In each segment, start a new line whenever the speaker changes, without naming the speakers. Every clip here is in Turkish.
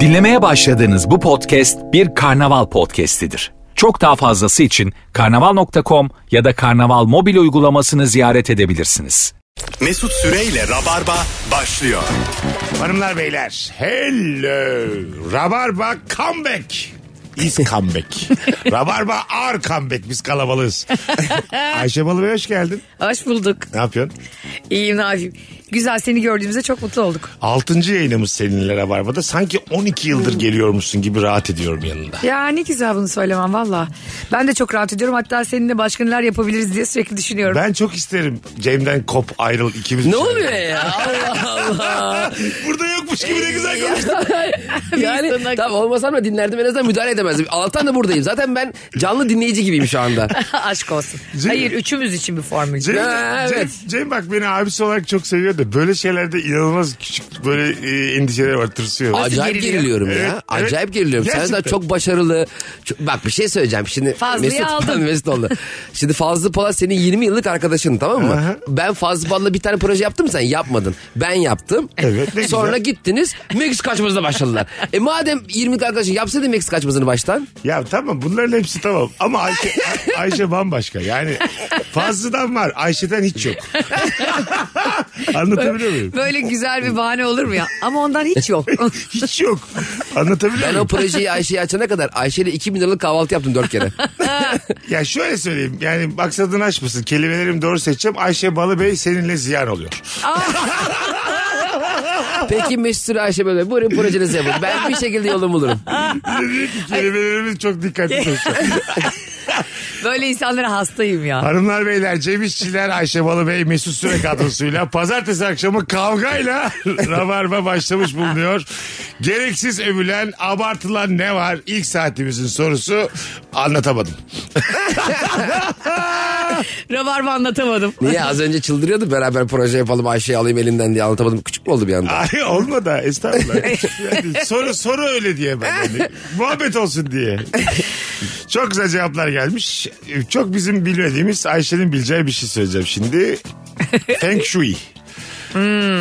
Dinlemeye başladığınız bu podcast bir karnaval podcastidir. Çok daha fazlası için karnaval.com ya da karnaval mobil uygulamasını ziyaret edebilirsiniz.
Mesut Süreyle Rabarba başlıyor.
Hanımlar beyler. Hello. Rabarba comeback. Is comeback. Rabarba are comeback. Biz kalabalığız. Ayşe Balı Bey hoş geldin.
Hoş bulduk.
Ne yapıyorsun?
İyiyim ne yapayım? Güzel seni gördüğümüzde çok mutlu olduk.
Altıncı yayınımız seninle Rabarba'da. Sanki 12 yıldır geliyormuşsun gibi rahat ediyorum yanında.
Ya ne güzel bunu söylemem valla. Ben de çok rahat ediyorum. Hatta seninle başka neler yapabiliriz diye sürekli düşünüyorum.
Ben çok isterim Cem'den kop ayrıl ikimiz.
Ne oluyor ya? Allah Allah.
Burada yokmuş gibi ne güzel konuştun.
yani tam olmasam da dinlerdim en azından müdahale edemezdim. Altan da buradayım. Zaten ben canlı dinleyici gibiyim şu anda.
Aşk olsun.
Cem-
Hayır üçümüz için bir formül.
Cem,
Ya,
Cem,
evet.
Cem bak beni abisi olarak çok seviyor da böyle şeylerde inanılmaz küçük böyle e, endişeler var tırsıyor.
Acayip
geriliyor?
geriliyorum
Evet,
ya.
evet.
Acayip geriliyorum. Sen
Gerçekten.
de çok başarılı. Çok- bak bir şey söyleyeceğim. Şimdi
Fazlı'yı aldım.
Mesut oldu. Şimdi Fazlı Polat senin 20 yıllık arkadaşın tamam mı?
Aha.
Ben Fazlı Polat'la bir tane proje yaptım sen yapmadın. Ben yaptım.
Evet, ne güzel.
Sonra gittiniz Meksika kaçmasına başladılar. e madem 20 arkadaşın yapsaydın Meksika kaçmasını baştan.
Ya tamam bunların hepsi tamam ama Ayşe, Ay- Ayşe bambaşka yani fazladan var Ayşe'den hiç yok. Anlatabiliyor muyum?
Böyle güzel bir bahane olur mu ya? Ama ondan hiç yok.
Hiç yok. Anlatabiliyor
Ben o
muyum?
projeyi Ayşe'ye açana kadar Ayşe'yle 2000 liralık kahvaltı yaptım 4 kere.
Ya şöyle söyleyeyim yani maksadını aşmasın kelimelerimi doğru seçeceğim Ayşe Balıbey seninle ziyan oluyor.
Peki Mesut Süre Ayşe böyle buyurun projenizi yapın. Ben bir şekilde yolumu bulurum.
Kelimelerimiz çok dikkatli seçeceğim.
Böyle insanlara hastayım ya.
Hanımlar beyler Cem İşçiler Ayşe Balıbey Mesut Süre kadrosuyla pazartesi akşamı kavgayla Rabarba başlamış bulunuyor. Gereksiz övülen abartılan ne var? İlk saatimizin sorusu anlatamadım.
Rabarba anlatamadım.
Niye az önce çıldırıyordu beraber proje yapalım Ayşe'yi alayım elinden diye anlatamadım. Küçük mü oldu bir anda?
Ay olmadı ha, estağfurullah. Yani soru soru öyle diye ben. yani. Muhabbet olsun diye. Çok güzel cevaplar gelmiş. Çok bizim bilmediğimiz Ayşe'nin bileceği bir şey söyleyeceğim şimdi. Feng Shui.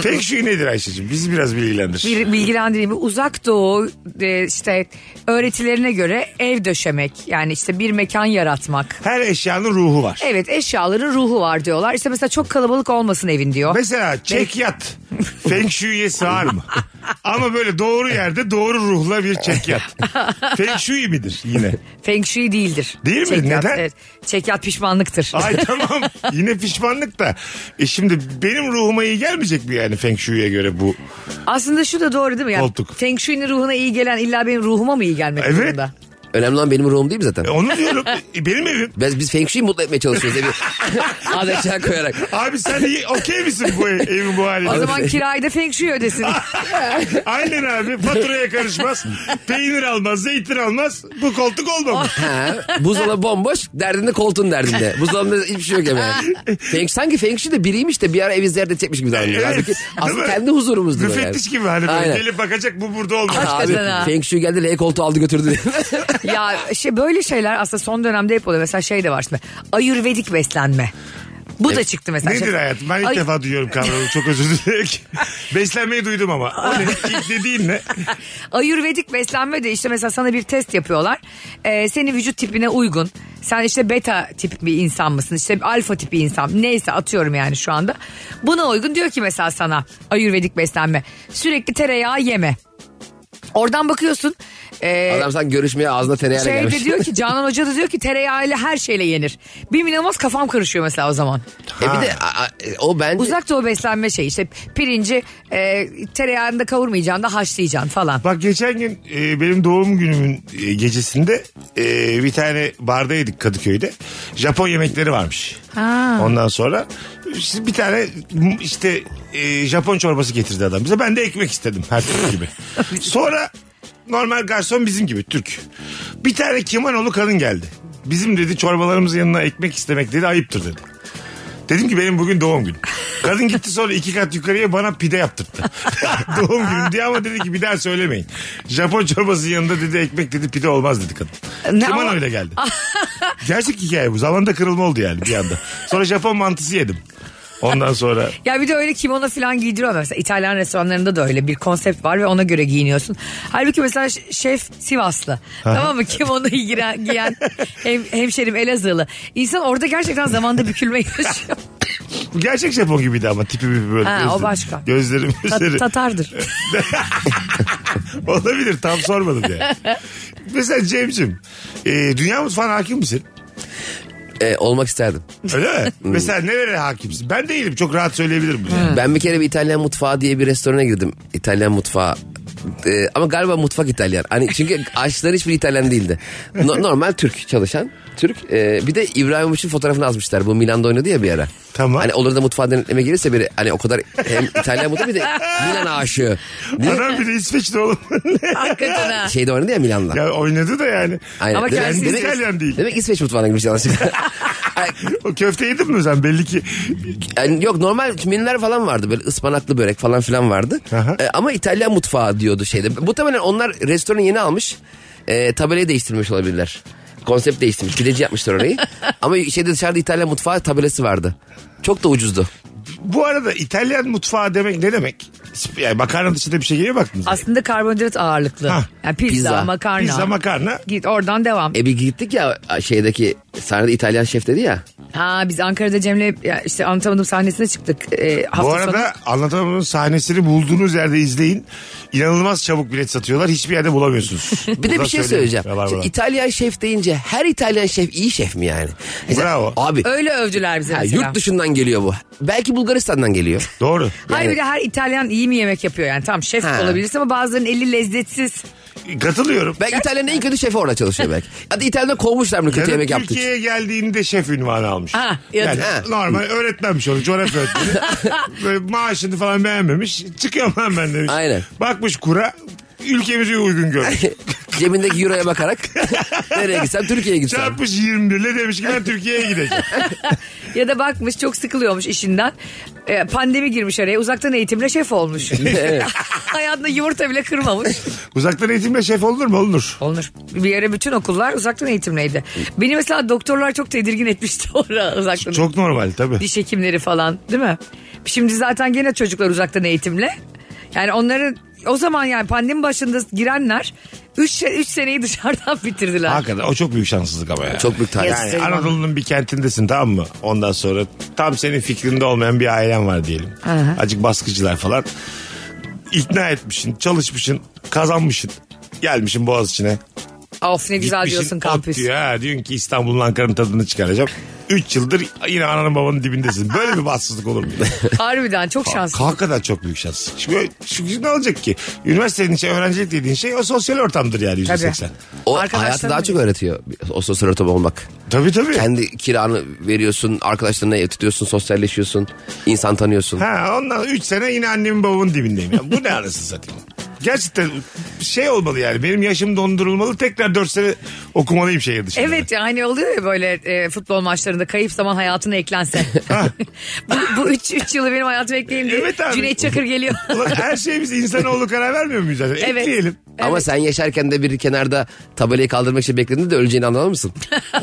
Feng Shui nedir Ayşe'cim? Bizi biraz bilgilendir.
bir bilgilendireyim. Uzak Doğu e, işte öğretilerine göre ev döşemek. Yani işte bir mekan yaratmak.
Her eşyanın ruhu var.
Evet eşyaların ruhu var diyorlar. İşte mesela çok kalabalık olmasın evin diyor.
Mesela çekyat Feng Shui'ye sığar mı? Ama böyle doğru yerde doğru ruhla bir çekyat. Feng Shui midir yine?
Feng Shui değildir.
Değil mi?
Çekyat,
Neden?
Evet. Çekyat pişmanlıktır.
Ay tamam yine pişmanlık da. E şimdi benim ruhuma iyi gelmeyecek mi yani Feng Shui'ye göre bu?
Aslında şu da doğru değil mi? Yani
Koltuk.
Feng Shui'nin ruhuna iyi gelen illa benim ruhuma mı iyi gelmek
Evet.
zorunda?
Önemli olan benim ruhum değil mi zaten?
E onu diyorum E benim evim.
Biz, biz Feng Shui'yi mutlu etmeye çalışıyoruz. Evi az eşya koyarak.
Abi sen iyi okey misin bu ev- evin bu
O
haline?
zaman kirayı da Feng Shui ödesin.
Aynen abi faturaya karışmaz. Peynir almaz, zeytin almaz. Bu koltuk olmamış.
Ha, buzdolabı bomboş derdinde koltuğun derdinde. Buzdolabında hiçbir şey yok hemen. Feng, sanki Feng Shui de biriymiş de bir ara evi ziyaret edecekmiş gibi davranıyor.
Evet.
Halbuki
Değil
aslında
mi?
kendi huzurumuzdur. o yani.
Müfettiş gibi hani böyle
Aynen.
gelip bakacak bu burada olmaz.
Abi
Hakikaten ha.
Feng Shui geldi L koltuğu aldı götürdü.
ya şey böyle şeyler aslında son dönemde hep oluyor. Mesela şey de var şimdi. Ayurvedik beslenme. Bu da çıktı mesela.
Nedir
Şey-
hayatım? Ben ilk
Ay-
defa duyuyorum kavramı. Çok özür dilerim. Beslenmeyi duydum ama. O ne? İlk dediğin ne?
Ayurvedik beslenme de işte mesela sana bir test yapıyorlar. Ee, senin vücut tipine uygun. Sen işte beta tip bir insan mısın? İşte alfa tipi insan. Neyse atıyorum yani şu anda. Buna uygun diyor ki mesela sana ayurvedik beslenme. Sürekli tereyağı yeme. Oradan bakıyorsun. Ee,
Adam sanki görüşmeye ağzına tereyağıyla
şey
gelmiş.
de diyor ki Canan Hoca da diyor ki tereyağıyla her şeyle yenir. Benim inanılmaz kafam karışıyor mesela o zaman.
E bir de a- a- o bence
Uzak doğu beslenme şey işte pirinci e, tereyağında kavurmayacaksın da haşlayacaksın falan.
Bak geçen gün e, benim doğum günümün e, gecesinde e, bir tane bardaydık Kadıköy'de. Japon yemekleri varmış. Ondan sonra işte bir tane m- işte e, Japon çorbası getirdi adam bize. Ben de ekmek istedim her türlü gibi. sonra normal garson bizim gibi Türk. Bir tane kimanolu kadın geldi. Bizim dedi çorbalarımızın yanına ekmek istemek dedi ayıptır dedi. Dedim ki benim bugün doğum günüm. Kadın gitti sonra iki kat yukarıya bana pide yaptırdı. doğum günüm diye ama dedi ki bir daha söylemeyin. Japon çorbası yanında dedi ekmek dedi pide olmaz dedi kadın.
Ne
Kiman
ama-
öyle geldi. Gerçek hikaye bu. Zamanda kırılma oldu yani bir anda. Sonra Japon mantısı yedim. Ondan sonra
Ya bir de öyle kimono falan giydiriyor mesela İtalyan restoranlarında da öyle bir konsept var ve ona göre giyiniyorsun. Halbuki mesela ş- şef Sivaslı tamam mı kimonoyu giren, giyen hem, hemşerim Elazığlı. İnsan orada gerçekten zamanda bükülme
şey
yaşıyor.
Bu gerçek Japon gibiydi ama tipi bir böyle.
Ha, o
gözleri-
başka.
Gözleri
Ta-
gözleri.
Tatardır.
Olabilir tam sormadım yani. Mesela Cem'cim e, dünya mutfağına hakim misin?
Ee, olmak isterdim.
Öyle mi? Mesela nerelere hakimsin? Ben değilim çok rahat söyleyebilirim bunu.
Ben bir kere bir İtalyan mutfağı diye bir restorana girdim. İtalyan mutfağı. Ee, ama galiba mutfak İtalyan. Hani çünkü aşçılar hiçbir İtalyan değildi. No- normal Türk çalışan. Türk. Ee, bir de İbrahimovic'in fotoğrafını azmışlar. Bu Milan'da oynadı ya bir ara.
Tamam.
Hani olur da mutfağa denetleme gelirse biri hani o kadar hem İtalyan mutfağı bir de Milan aşığı. Diye
Adam bir de İsveçli oğlum.
Hakikaten ha.
şeyde oynadı ya Milan'da.
ya oynadı da yani.
Aynen.
Ama
Demek-
kendisi
demek-
İtalyan değil.
Demek İsveç mutfağına girmiş yanlışlıkla. Ay,
O köfte yedin mi sen belli ki.
Yani yok normal menüler falan vardı böyle ıspanaklı börek falan filan vardı.
Aha.
E, ama İtalyan mutfağı diyordu şeyde. Muhtemelen onlar restoranı yeni almış. E, tabelayı değiştirmiş olabilirler. Konsept değiştirmiş. Pideci yapmışlar orayı. ama şeyde dışarıda İtalyan mutfağı tabelası vardı. Çok da ucuzdu.
Bu arada İtalyan mutfağı demek ne demek? Yani makarna dışında bir şey geliyor baktınız. mı?
Aslında karbonhidrat ağırlıklı.
Ha.
Yani pizza,
Pizza.
makarna.
Pizza makarna.
Git oradan devam.
E bir gittik ya şeydeki sahnede İtalyan şef dedi ya.
Ha biz Ankara'da Cem'le ya işte anlatamadım sahnesine çıktık. Ee, hafta
Bu
sonu.
arada anlatamadığımın sahnesini bulduğunuz yerde izleyin. İnanılmaz çabuk bilet satıyorlar. Hiçbir yerde bulamıyorsunuz.
Bir de bir şey söyleyeceğim. Şimdi
Şimdi
İtalyan şef deyince her İtalyan şef iyi şef mi yani? Mesela-
Bravo.
Abi
Öyle övdüler bize
ha,
mesela.
yurt dışından geliyor bu. Belki Bulgaristan'dan geliyor.
Doğru.
Hayır bir de her İtalyan iyi mi yemek yapıyor yani tam şef
Ha.
olabilirsin ama bazılarının eli lezzetsiz.
Katılıyorum.
Belki İtalya'nın en kötü şefi orada çalışıyor belki. Ya da İtalya'da kovmuşlar bunu kötü
Ya da
yemek yaptığı için.
Türkiye'ye geldiğinde şef ünvanı almış.
Ha, ya da-
yani
Ha.
normal öğretmenmiş onu coğrafya öğretmeni. Böyle maaşını falan beğenmemiş. Çıkıyorum lan ben demiş.
Aynen.
Bakmış kura ülkemizi uygun görmüş.
Cebindeki euroya bakarak nereye gitsem Türkiye'ye gitsem.
Çarpmış 21 ile demiş ki ben Türkiye'ye gideceğim.
Ya da bakmış çok sıkılıyormuş işinden. Ee, pandemi girmiş araya uzaktan eğitimle şef olmuş. Hayatında yumurta bile kırmamış.
Uzaktan eğitimle şef olur mu? Olur.
Olmuş. Bir yere bütün okullar uzaktan eğitimleydi. Beni mesela doktorlar çok tedirgin etmişti orada uzaktan.
Çok normal tabii.
Diş hekimleri falan değil mi? Şimdi zaten gene çocuklar uzaktan eğitimle. Yani onların o zaman yani pandemi başında girenler 3 üç seneyi dışarıdan bitirdiler.
Hakikaten o çok büyük şanssızlık ama ya.
Çok büyük talih.
Yazık.
Yani Anadolu'nun bir kentindesin tamam mı? Ondan sonra tam senin fikrinde olmayan bir ailen var diyelim.
Aha.
Acık baskıcılar falan. İkna etmişsin, çalışmışsın, kazanmışsın. Gelmişsin Boğaziçi'ne.
Of ne güzel
Gitmişsin,
diyorsun
ot
kampüs.
Diyor, ha, diyorsun ki İstanbul'un Ankara'nın tadını çıkaracağım. 3 yıldır yine ananın babanın dibindesin. Böyle bir bahtsızlık olur mu?
Harbiden çok şanslı.
Hakikaten çok büyük şans. Çünkü, çünkü ne olacak ki? Üniversitenin içi öğrencilik dediğin şey o sosyal ortamdır yani
Tabii.
%80.
O
Arkadaşlarım
hayatı daha
da-
çok öğretiyor. O sosyal ortam olmak.
Tabii tabii.
Kendi kiranı veriyorsun, arkadaşlarına ev tutuyorsun, sosyalleşiyorsun, insan tanıyorsun.
Ha ondan 3 sene yine annemin babamın dibindeyim. Ya. Bu ne anasını satayım. Gerçekten şey olmalı yani benim yaşım dondurulmalı tekrar 4 sene okumalıyım şehir dışında.
Evet yani oluyor ya böyle e, futbol maçlarında kayıp zaman hayatına eklense. bu, bu üç, üç yılı benim hayatıma ekleyeyim diye
Evet abi.
Cüneyt Çakır geliyor.
Ulan her şey biz insanoğlu karar vermiyor muyuz zaten?
Evet.
Ekleyelim.
Ama sen yaşarken de biri kenarda tabelayı kaldırmak için beklediğinde de öleceğini anlar mısın?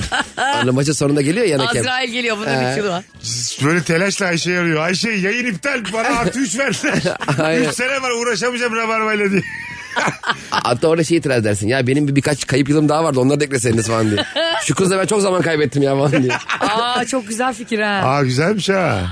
Anla maçın sonunda geliyor ya hakem.
Azrail geliyor bunun üç yılı var.
Böyle telaşla Ayşe yarıyor. Ayşe yayın iptal bana artı 3 verdiler.
Aynen.
3 sene var uğraşamayacağım rabarbayla diye.
Hatta orada şey itiraz edersin. Ya benim bir birkaç kayıp yılım daha vardı onları da ekleseniz falan diye. Şu kızla ben çok zaman kaybettim ya falan diye.
Aa çok güzel fikir ha.
Aa güzelmiş ha.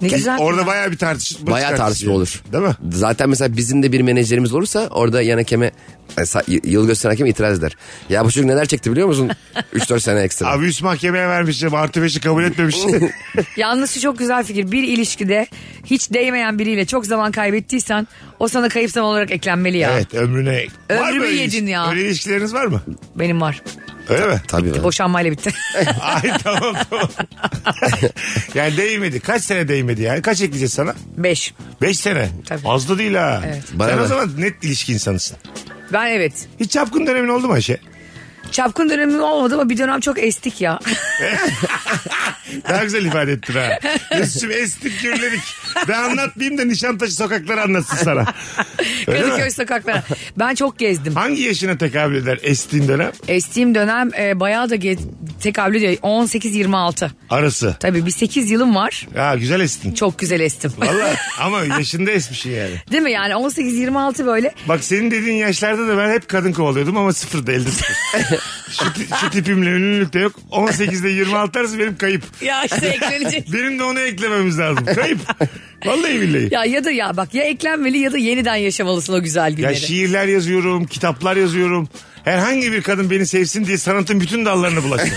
Ne E, güzel.
Orada bayağı bir tartışma
Bayağı tartışma
çıkartıyor.
olur.
Değil mi?
Zaten mesela bizim de bir menajerimiz olursa orada yan hakeme yani sa- y- yıl gösteren hakem itiraz eder. Ya bu çocuk neler çekti biliyor musun? 3-4 sene ekstra.
Abi üst mahkemeye vermişim artı 5'i kabul etmemiş.
Yalnız şu çok güzel fikir. Bir ilişkide hiç değmeyen biriyle çok zaman kaybettiysen o sana kayıp zaman olarak eklenmeli ya.
evet ömrüne. Var mı
Ömrümü
öyle
yedin
ilişki-
ya.
Öyle ilişkileriniz var mı?
Benim var.
Öyle mi?
Tabii ben.
Boşanmayla bitti.
Ay tamam tamam. yani değmedi. Kaç sene değmedi yani? Kaç ekleyeceğiz sana?
Beş.
Beş sene.
Tabii.
Az da değil ha.
Evet.
Bana
Sen o
da.
zaman net ilişki insanısın.
Ben evet.
Hiç çapkın dönemin oldu mu Ayşe?
Çapkın dönemim olmadı ama bir dönem çok estik ya.
Daha güzel ifade ettin ha. Mesut'cum estik gürledik. Ben anlatmayayım da Nişantaşı sokakları anlatsın sana. Öyle mi?
Kadıköy sokaklara. Ben çok gezdim.
Hangi yaşına tekabül eder estiğin dönem?
Estiğim dönem e, bayağı da ge- tekabül ediyor. 18-26.
Arası.
Tabii bir 8 yılım var.
Ha güzel estin.
Çok güzel estim.
Valla ama yaşında esmişsin yani.
Değil mi yani 18-26 böyle.
Bak senin dediğin yaşlarda da ben hep kadın kovalıyordum ama sıfırda elde sıfır. şu, ti- şu tipimle ünlülük de yok. 18'de 26 arası benim kayıp.
Ya işte eklenecek.
Benim de onu eklememiz lazım. Kayıp. Vallahi billahi.
ya ya da ya bak ya eklenmeli ya da yeniden yaşamalısın o güzel günleri.
Ya şiirler yazıyorum, kitaplar yazıyorum. Herhangi bir kadın beni sevsin diye sanatın bütün dallarını bulaştı.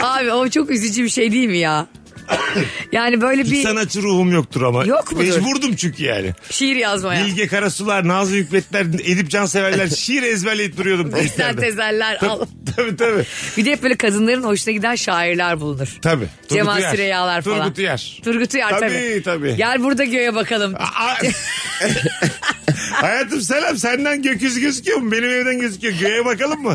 Abi o çok üzücü bir şey değil mi ya? Yani böyle
Hiç
bir
sanatçı ruhum yoktur ama.
Yok mudur?
Mecburdum çünkü yani.
şiir yazmaya.
Bilge Karasular, Nazlı Hükmetler, Edip Canseverler şiir ezberleyip duruyordum.
Bizden
tezlerde.
tezeller al.
tabii tabii.
Bir de hep böyle kadınların hoşuna giden şairler bulunur.
Tabii. Turgut
Cemal
Uyar.
Süreyya'lar falan.
Turgut Uyar.
Turgut Uyar tabii.
Tabii, tabii. Ah.
Gel burada göğe bakalım.
Aa! Hayatım selam senden gökyüzü gözüküyor mu? Benim evden gözüküyor. Göğe bakalım mı?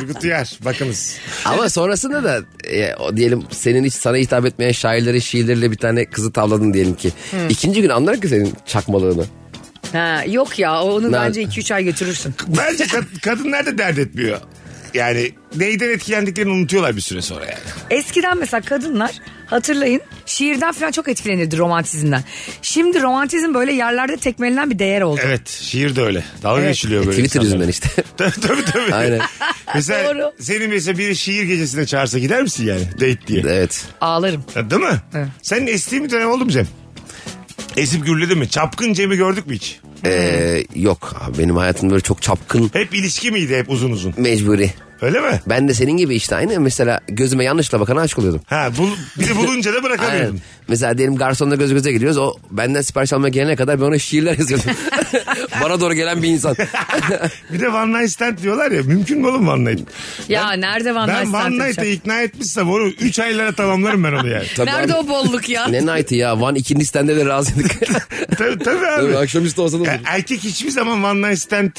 Turgut Uyar bakınız.
Ama sonrasında da e, o diyelim senin hiç sana hitap etmeyen şairlerin şiirleriyle bir tane kızı tavladın diyelim ki.
Hmm.
İkinci gün anlar ki senin çakmalığını.
Ha, yok ya onu
Nerede?
bence 2-3 ay götürürsün.
Bence kad- kadınlar da dert etmiyor. Yani neyden etkilendiklerini unutuyorlar bir süre sonra yani.
Eskiden mesela kadınlar hatırlayın şiirden falan çok etkilenirdi romantizmden. Şimdi romantizm böyle yerlerde tekmelenen bir değer oldu.
Evet şiir de öyle. Dalga geçiliyor böyle.
E, Twitter
insanlarla.
yüzünden işte.
tabii tabii. tabii.
Aynen.
Mesela
Doğru.
senin mesela biri şiir gecesine çağırsa gider misin yani date diye?
evet.
Ağlarım.
Ha, Değil mi?
Evet.
Senin estiğin bir dönem oldu mu Cem? Esip gürledin mi? Çapkın Cem'i gördük mü hiç?
Ee,
Hmm.
yok abi benim hayatım böyle çok çapkın
Hep ilişki miydi hep uzun uzun?
mecburi.
Öyle mi?
Ben de senin gibi işte aynı mesela gözüme yanlışla bakana aşık oluyordum.
Ha bul, bir de bulunca da bırakamıyordum.
Aynen. Mesela diyelim garsonla göz göze gidiyoruz. O benden sipariş almaya gelene kadar ben ona şiirler yazıyordum. Bana doğru gelen bir insan.
Bir de one night stand diyorlar ya mümkün mü oğlum one night?
Ya nerede Van
ben one night'e ikna etmişsem onu 3 aylara tamamlarım ben onu yani.
Tabii
Nerede
abi.
o bolluk ya?
Ne night'ı ya? Van ikinci stende de razıydık.
tabii, tabii abi.
Tabii, akşamüstü olsa da olur.
Ya erkek hiçbir zaman one night stand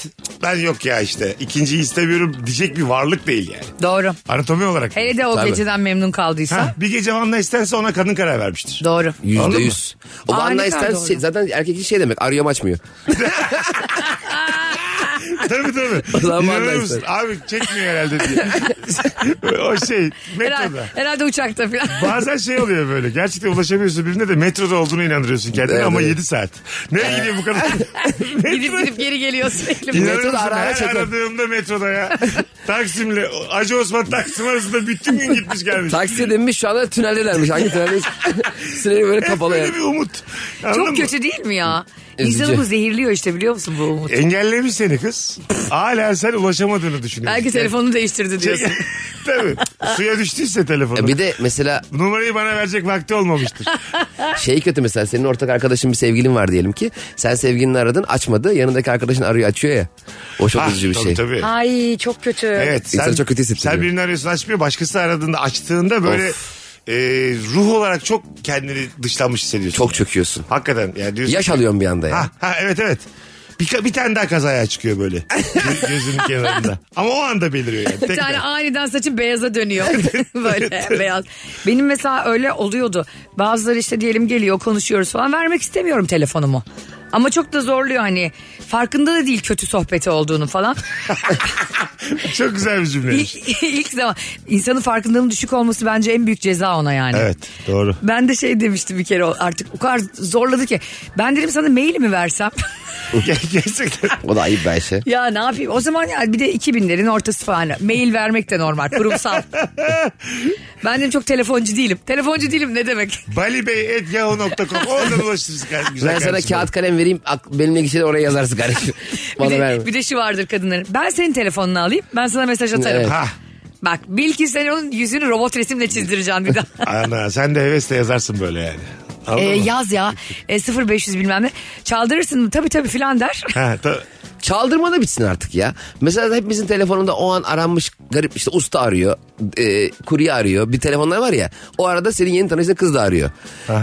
ben yok ya işte ikinciyi istemiyorum diyecek bir varlık değil yani.
Doğru.
Anatomi olarak.
Hele de o
Tabii.
geceden memnun kaldıysa.
Ha, bir gece one night standse ona kadın karar vermiştir.
Doğru.
Yüzde
Anladın mı?
yüz. O
Aa,
one
ne
night
kadar
stand
doğru.
şey- zaten erkek için şey demek. Arıyorum açmıyor.
tabii tabii.
zaman one
İnanır
night
mısın?
stand.
Abi çekmiyor herhalde diye. o şey
Herhalde,
metroda.
herhalde uçakta falan.
Bazen şey oluyor böyle. Gerçekten ulaşamıyorsun birine de metroda olduğunu inandırıyorsun kendine
Evet,
ama
evet.
7 saat. Nereye gidiyor bu kadar?
gidip gidip geri geliyor sürekli.
İnanır
Metroda
mısın?
ara ara
Her
çeker.
aradığımda metroda ya. Taksim'le Hacı Osman Taksim arasında bütün gün gitmiş gelmiş.
Taksiye binmiş şu anda tüneldelermiş. Hangi tüneldeyiz? Sürekli böyle
Hep
kapalı.
böyle
yani.
bir umut. Anladın mı?
Çok kötü değil mi ya?
Üzücü.
İnsanı bu zehirliyor işte biliyor musun bu umut?
Engellemiş seni kız. Hala sen ulaşamadığını düşünüyorsun.
Belki telefonunu değiştirdi diyorsun.
Tabii. Suya düştüyse telefonu.
E Bir de mesela
Numarayı bana verecek vakti olmamıştır.
şey kötü mesela senin ortak arkadaşın bir sevgilin var diyelim ki. Sen sevgilini aradın açmadı. Yanındaki arkadaşın arıyor açıyor ya. O çok
Ah,
üzücü bir
tabii,
şey.
Tabii.
Ay çok kötü.
Evet.
İnsanı çok kötü hissettiriyor.
Sen birini arıyorsun açmıyor. Başkası aradığında açtığında böyle e, ruh olarak çok kendini dışlanmış hissediyorsun.
Çok çöküyorsun.
Hakikaten. Yani diyorsun,
Yaş alıyorsun bir anda ya.
Ha, ha evet evet. Bir, ka- bir tane daha kazaya çıkıyor böyle. Gö- Gözünün kenarında. Ama o anda beliriyor yani.
Bir
Tekrar.
tane aniden saçın beyaza dönüyor. Böyle beyaz. Benim mesela öyle oluyordu. Bazıları işte diyelim geliyor konuşuyoruz falan vermek istemiyorum telefonumu. Ama çok da zorluyor hani. Farkında da değil kötü sohbeti olduğunu falan.
Çok güzel bir cümle.
İlk, ilk zaman insanın farkındalığının düşük olması bence en büyük ceza ona yani.
Evet doğru.
Ben de şey demiştim bir kere o- artık o kadar zorladı ki. Ben dedim sana mail mi versem?
Uh.
Ger- Gerçekten.
O da ayıp bir şey.
ya ne yapayım? O zaman ya bir de 2000'lerin ortası falan. Mail vermek de normal kurumsal. ben dedim çok telefoncu değilim. Telefoncu değilim ne demek?
balibey.yahoo.com Oradan ulaşırız. kar- Güzel
Ben sana
kardeşim.
kağıt kalem vereyim. ak- Benimle gidişe de oraya yazarsın kardeşim.
Bir
Bana
de,
verme.
bir de şu vardır kadınların. Ben senin telefonunu alayım. Ben sana mesaj atarım.
Evet.
Ha.
Bak bil ki sen onun yüzünü robot resimle çizdireceğim bir daha.
Ana sen de hevesle yazarsın böyle yani. Anladın
Ee,
mı?
yaz ya. Ee, 0500 bilmem ne. Çaldırırsın mı? Tabii tabii filan der.
Ha, ta-
Çaldırma da bitsin artık ya. Mesela hepimizin telefonunda o an aranmış garip işte usta arıyor, e, kurye arıyor. Bir telefonlar var ya. O arada senin yeni tanıştığın kız da arıyor.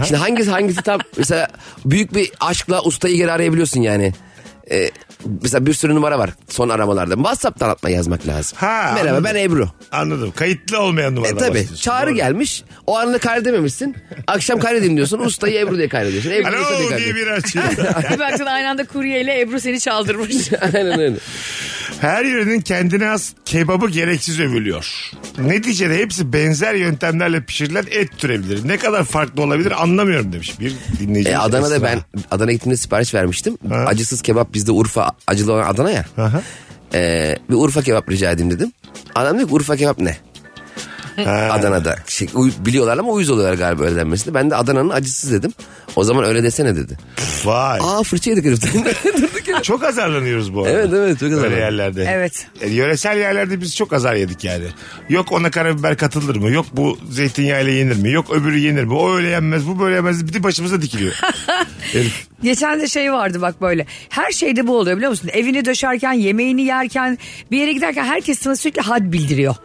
Şimdi hangisi hangisi tam mesela büyük bir aşkla ustayı geri arayabiliyorsun yani. E, mesela bir sürü numara var son aramalarda. WhatsApp'tan atma yazmak lazım.
Ha,
Merhaba
anladım.
ben Ebru.
anladım. Kayıtlı olmayan
E
numaradan
tabi
bahsediyorsun.
çağrı
Doğru.
gelmiş. O anını kaydedememişsin. Akşam kaydedeyim diyorsun. Ustayı Ebru diye kaydediyorsun. Ebru usta diye
Alo diye şey.
kaydediyorsun.
bir açıyor.
Bir baktın aynı anda kuryeyle Ebru seni çaldırmış.
Aynen öyle.
Her yörenin kendine has kebabı gereksiz övülüyor. Neticede hepsi benzer yöntemlerle pişirilen et türebilir. Ne kadar farklı olabilir anlamıyorum demiş bir dinleyici.
E, Adana'da
Esra.
ben Adana'ya gittiğimde sipariş vermiştim. Acısız kebap bizde Urfa acılı olan Adana ya.
Aha.
E, bir Urfa kebap rica edeyim dedim. Adam dedi ki Urfa kebap ne? Adana'da. Şey, uy- biliyorlar ama uyuz oluyorlar galiba öyle denmesine. Ben de Adana'nın acısız dedim. O zaman öyle desene dedi.
Vay.
Aa fırça yedik heriften. Durduk yere.
Çok azarlanıyoruz bu arada.
Evet, evet, çok
Böyle
azarlanıyoruz.
yerlerde.
Evet.
E, yöresel yerlerde biz çok azar yedik yani. Yok ona karabiber katılır mı? Yok bu zeytinyağıyla yenir mi? Yok öbürü yenir mi? O öyle yenmez, bu böyle yenmez. Bir de başımıza dikiliyor. Herif.
Geçen de şey vardı bak böyle. Her şeyde bu oluyor biliyor musun? Evini döşerken, yemeğini yerken, bir yere giderken herkes sana sürekli had bildiriyor.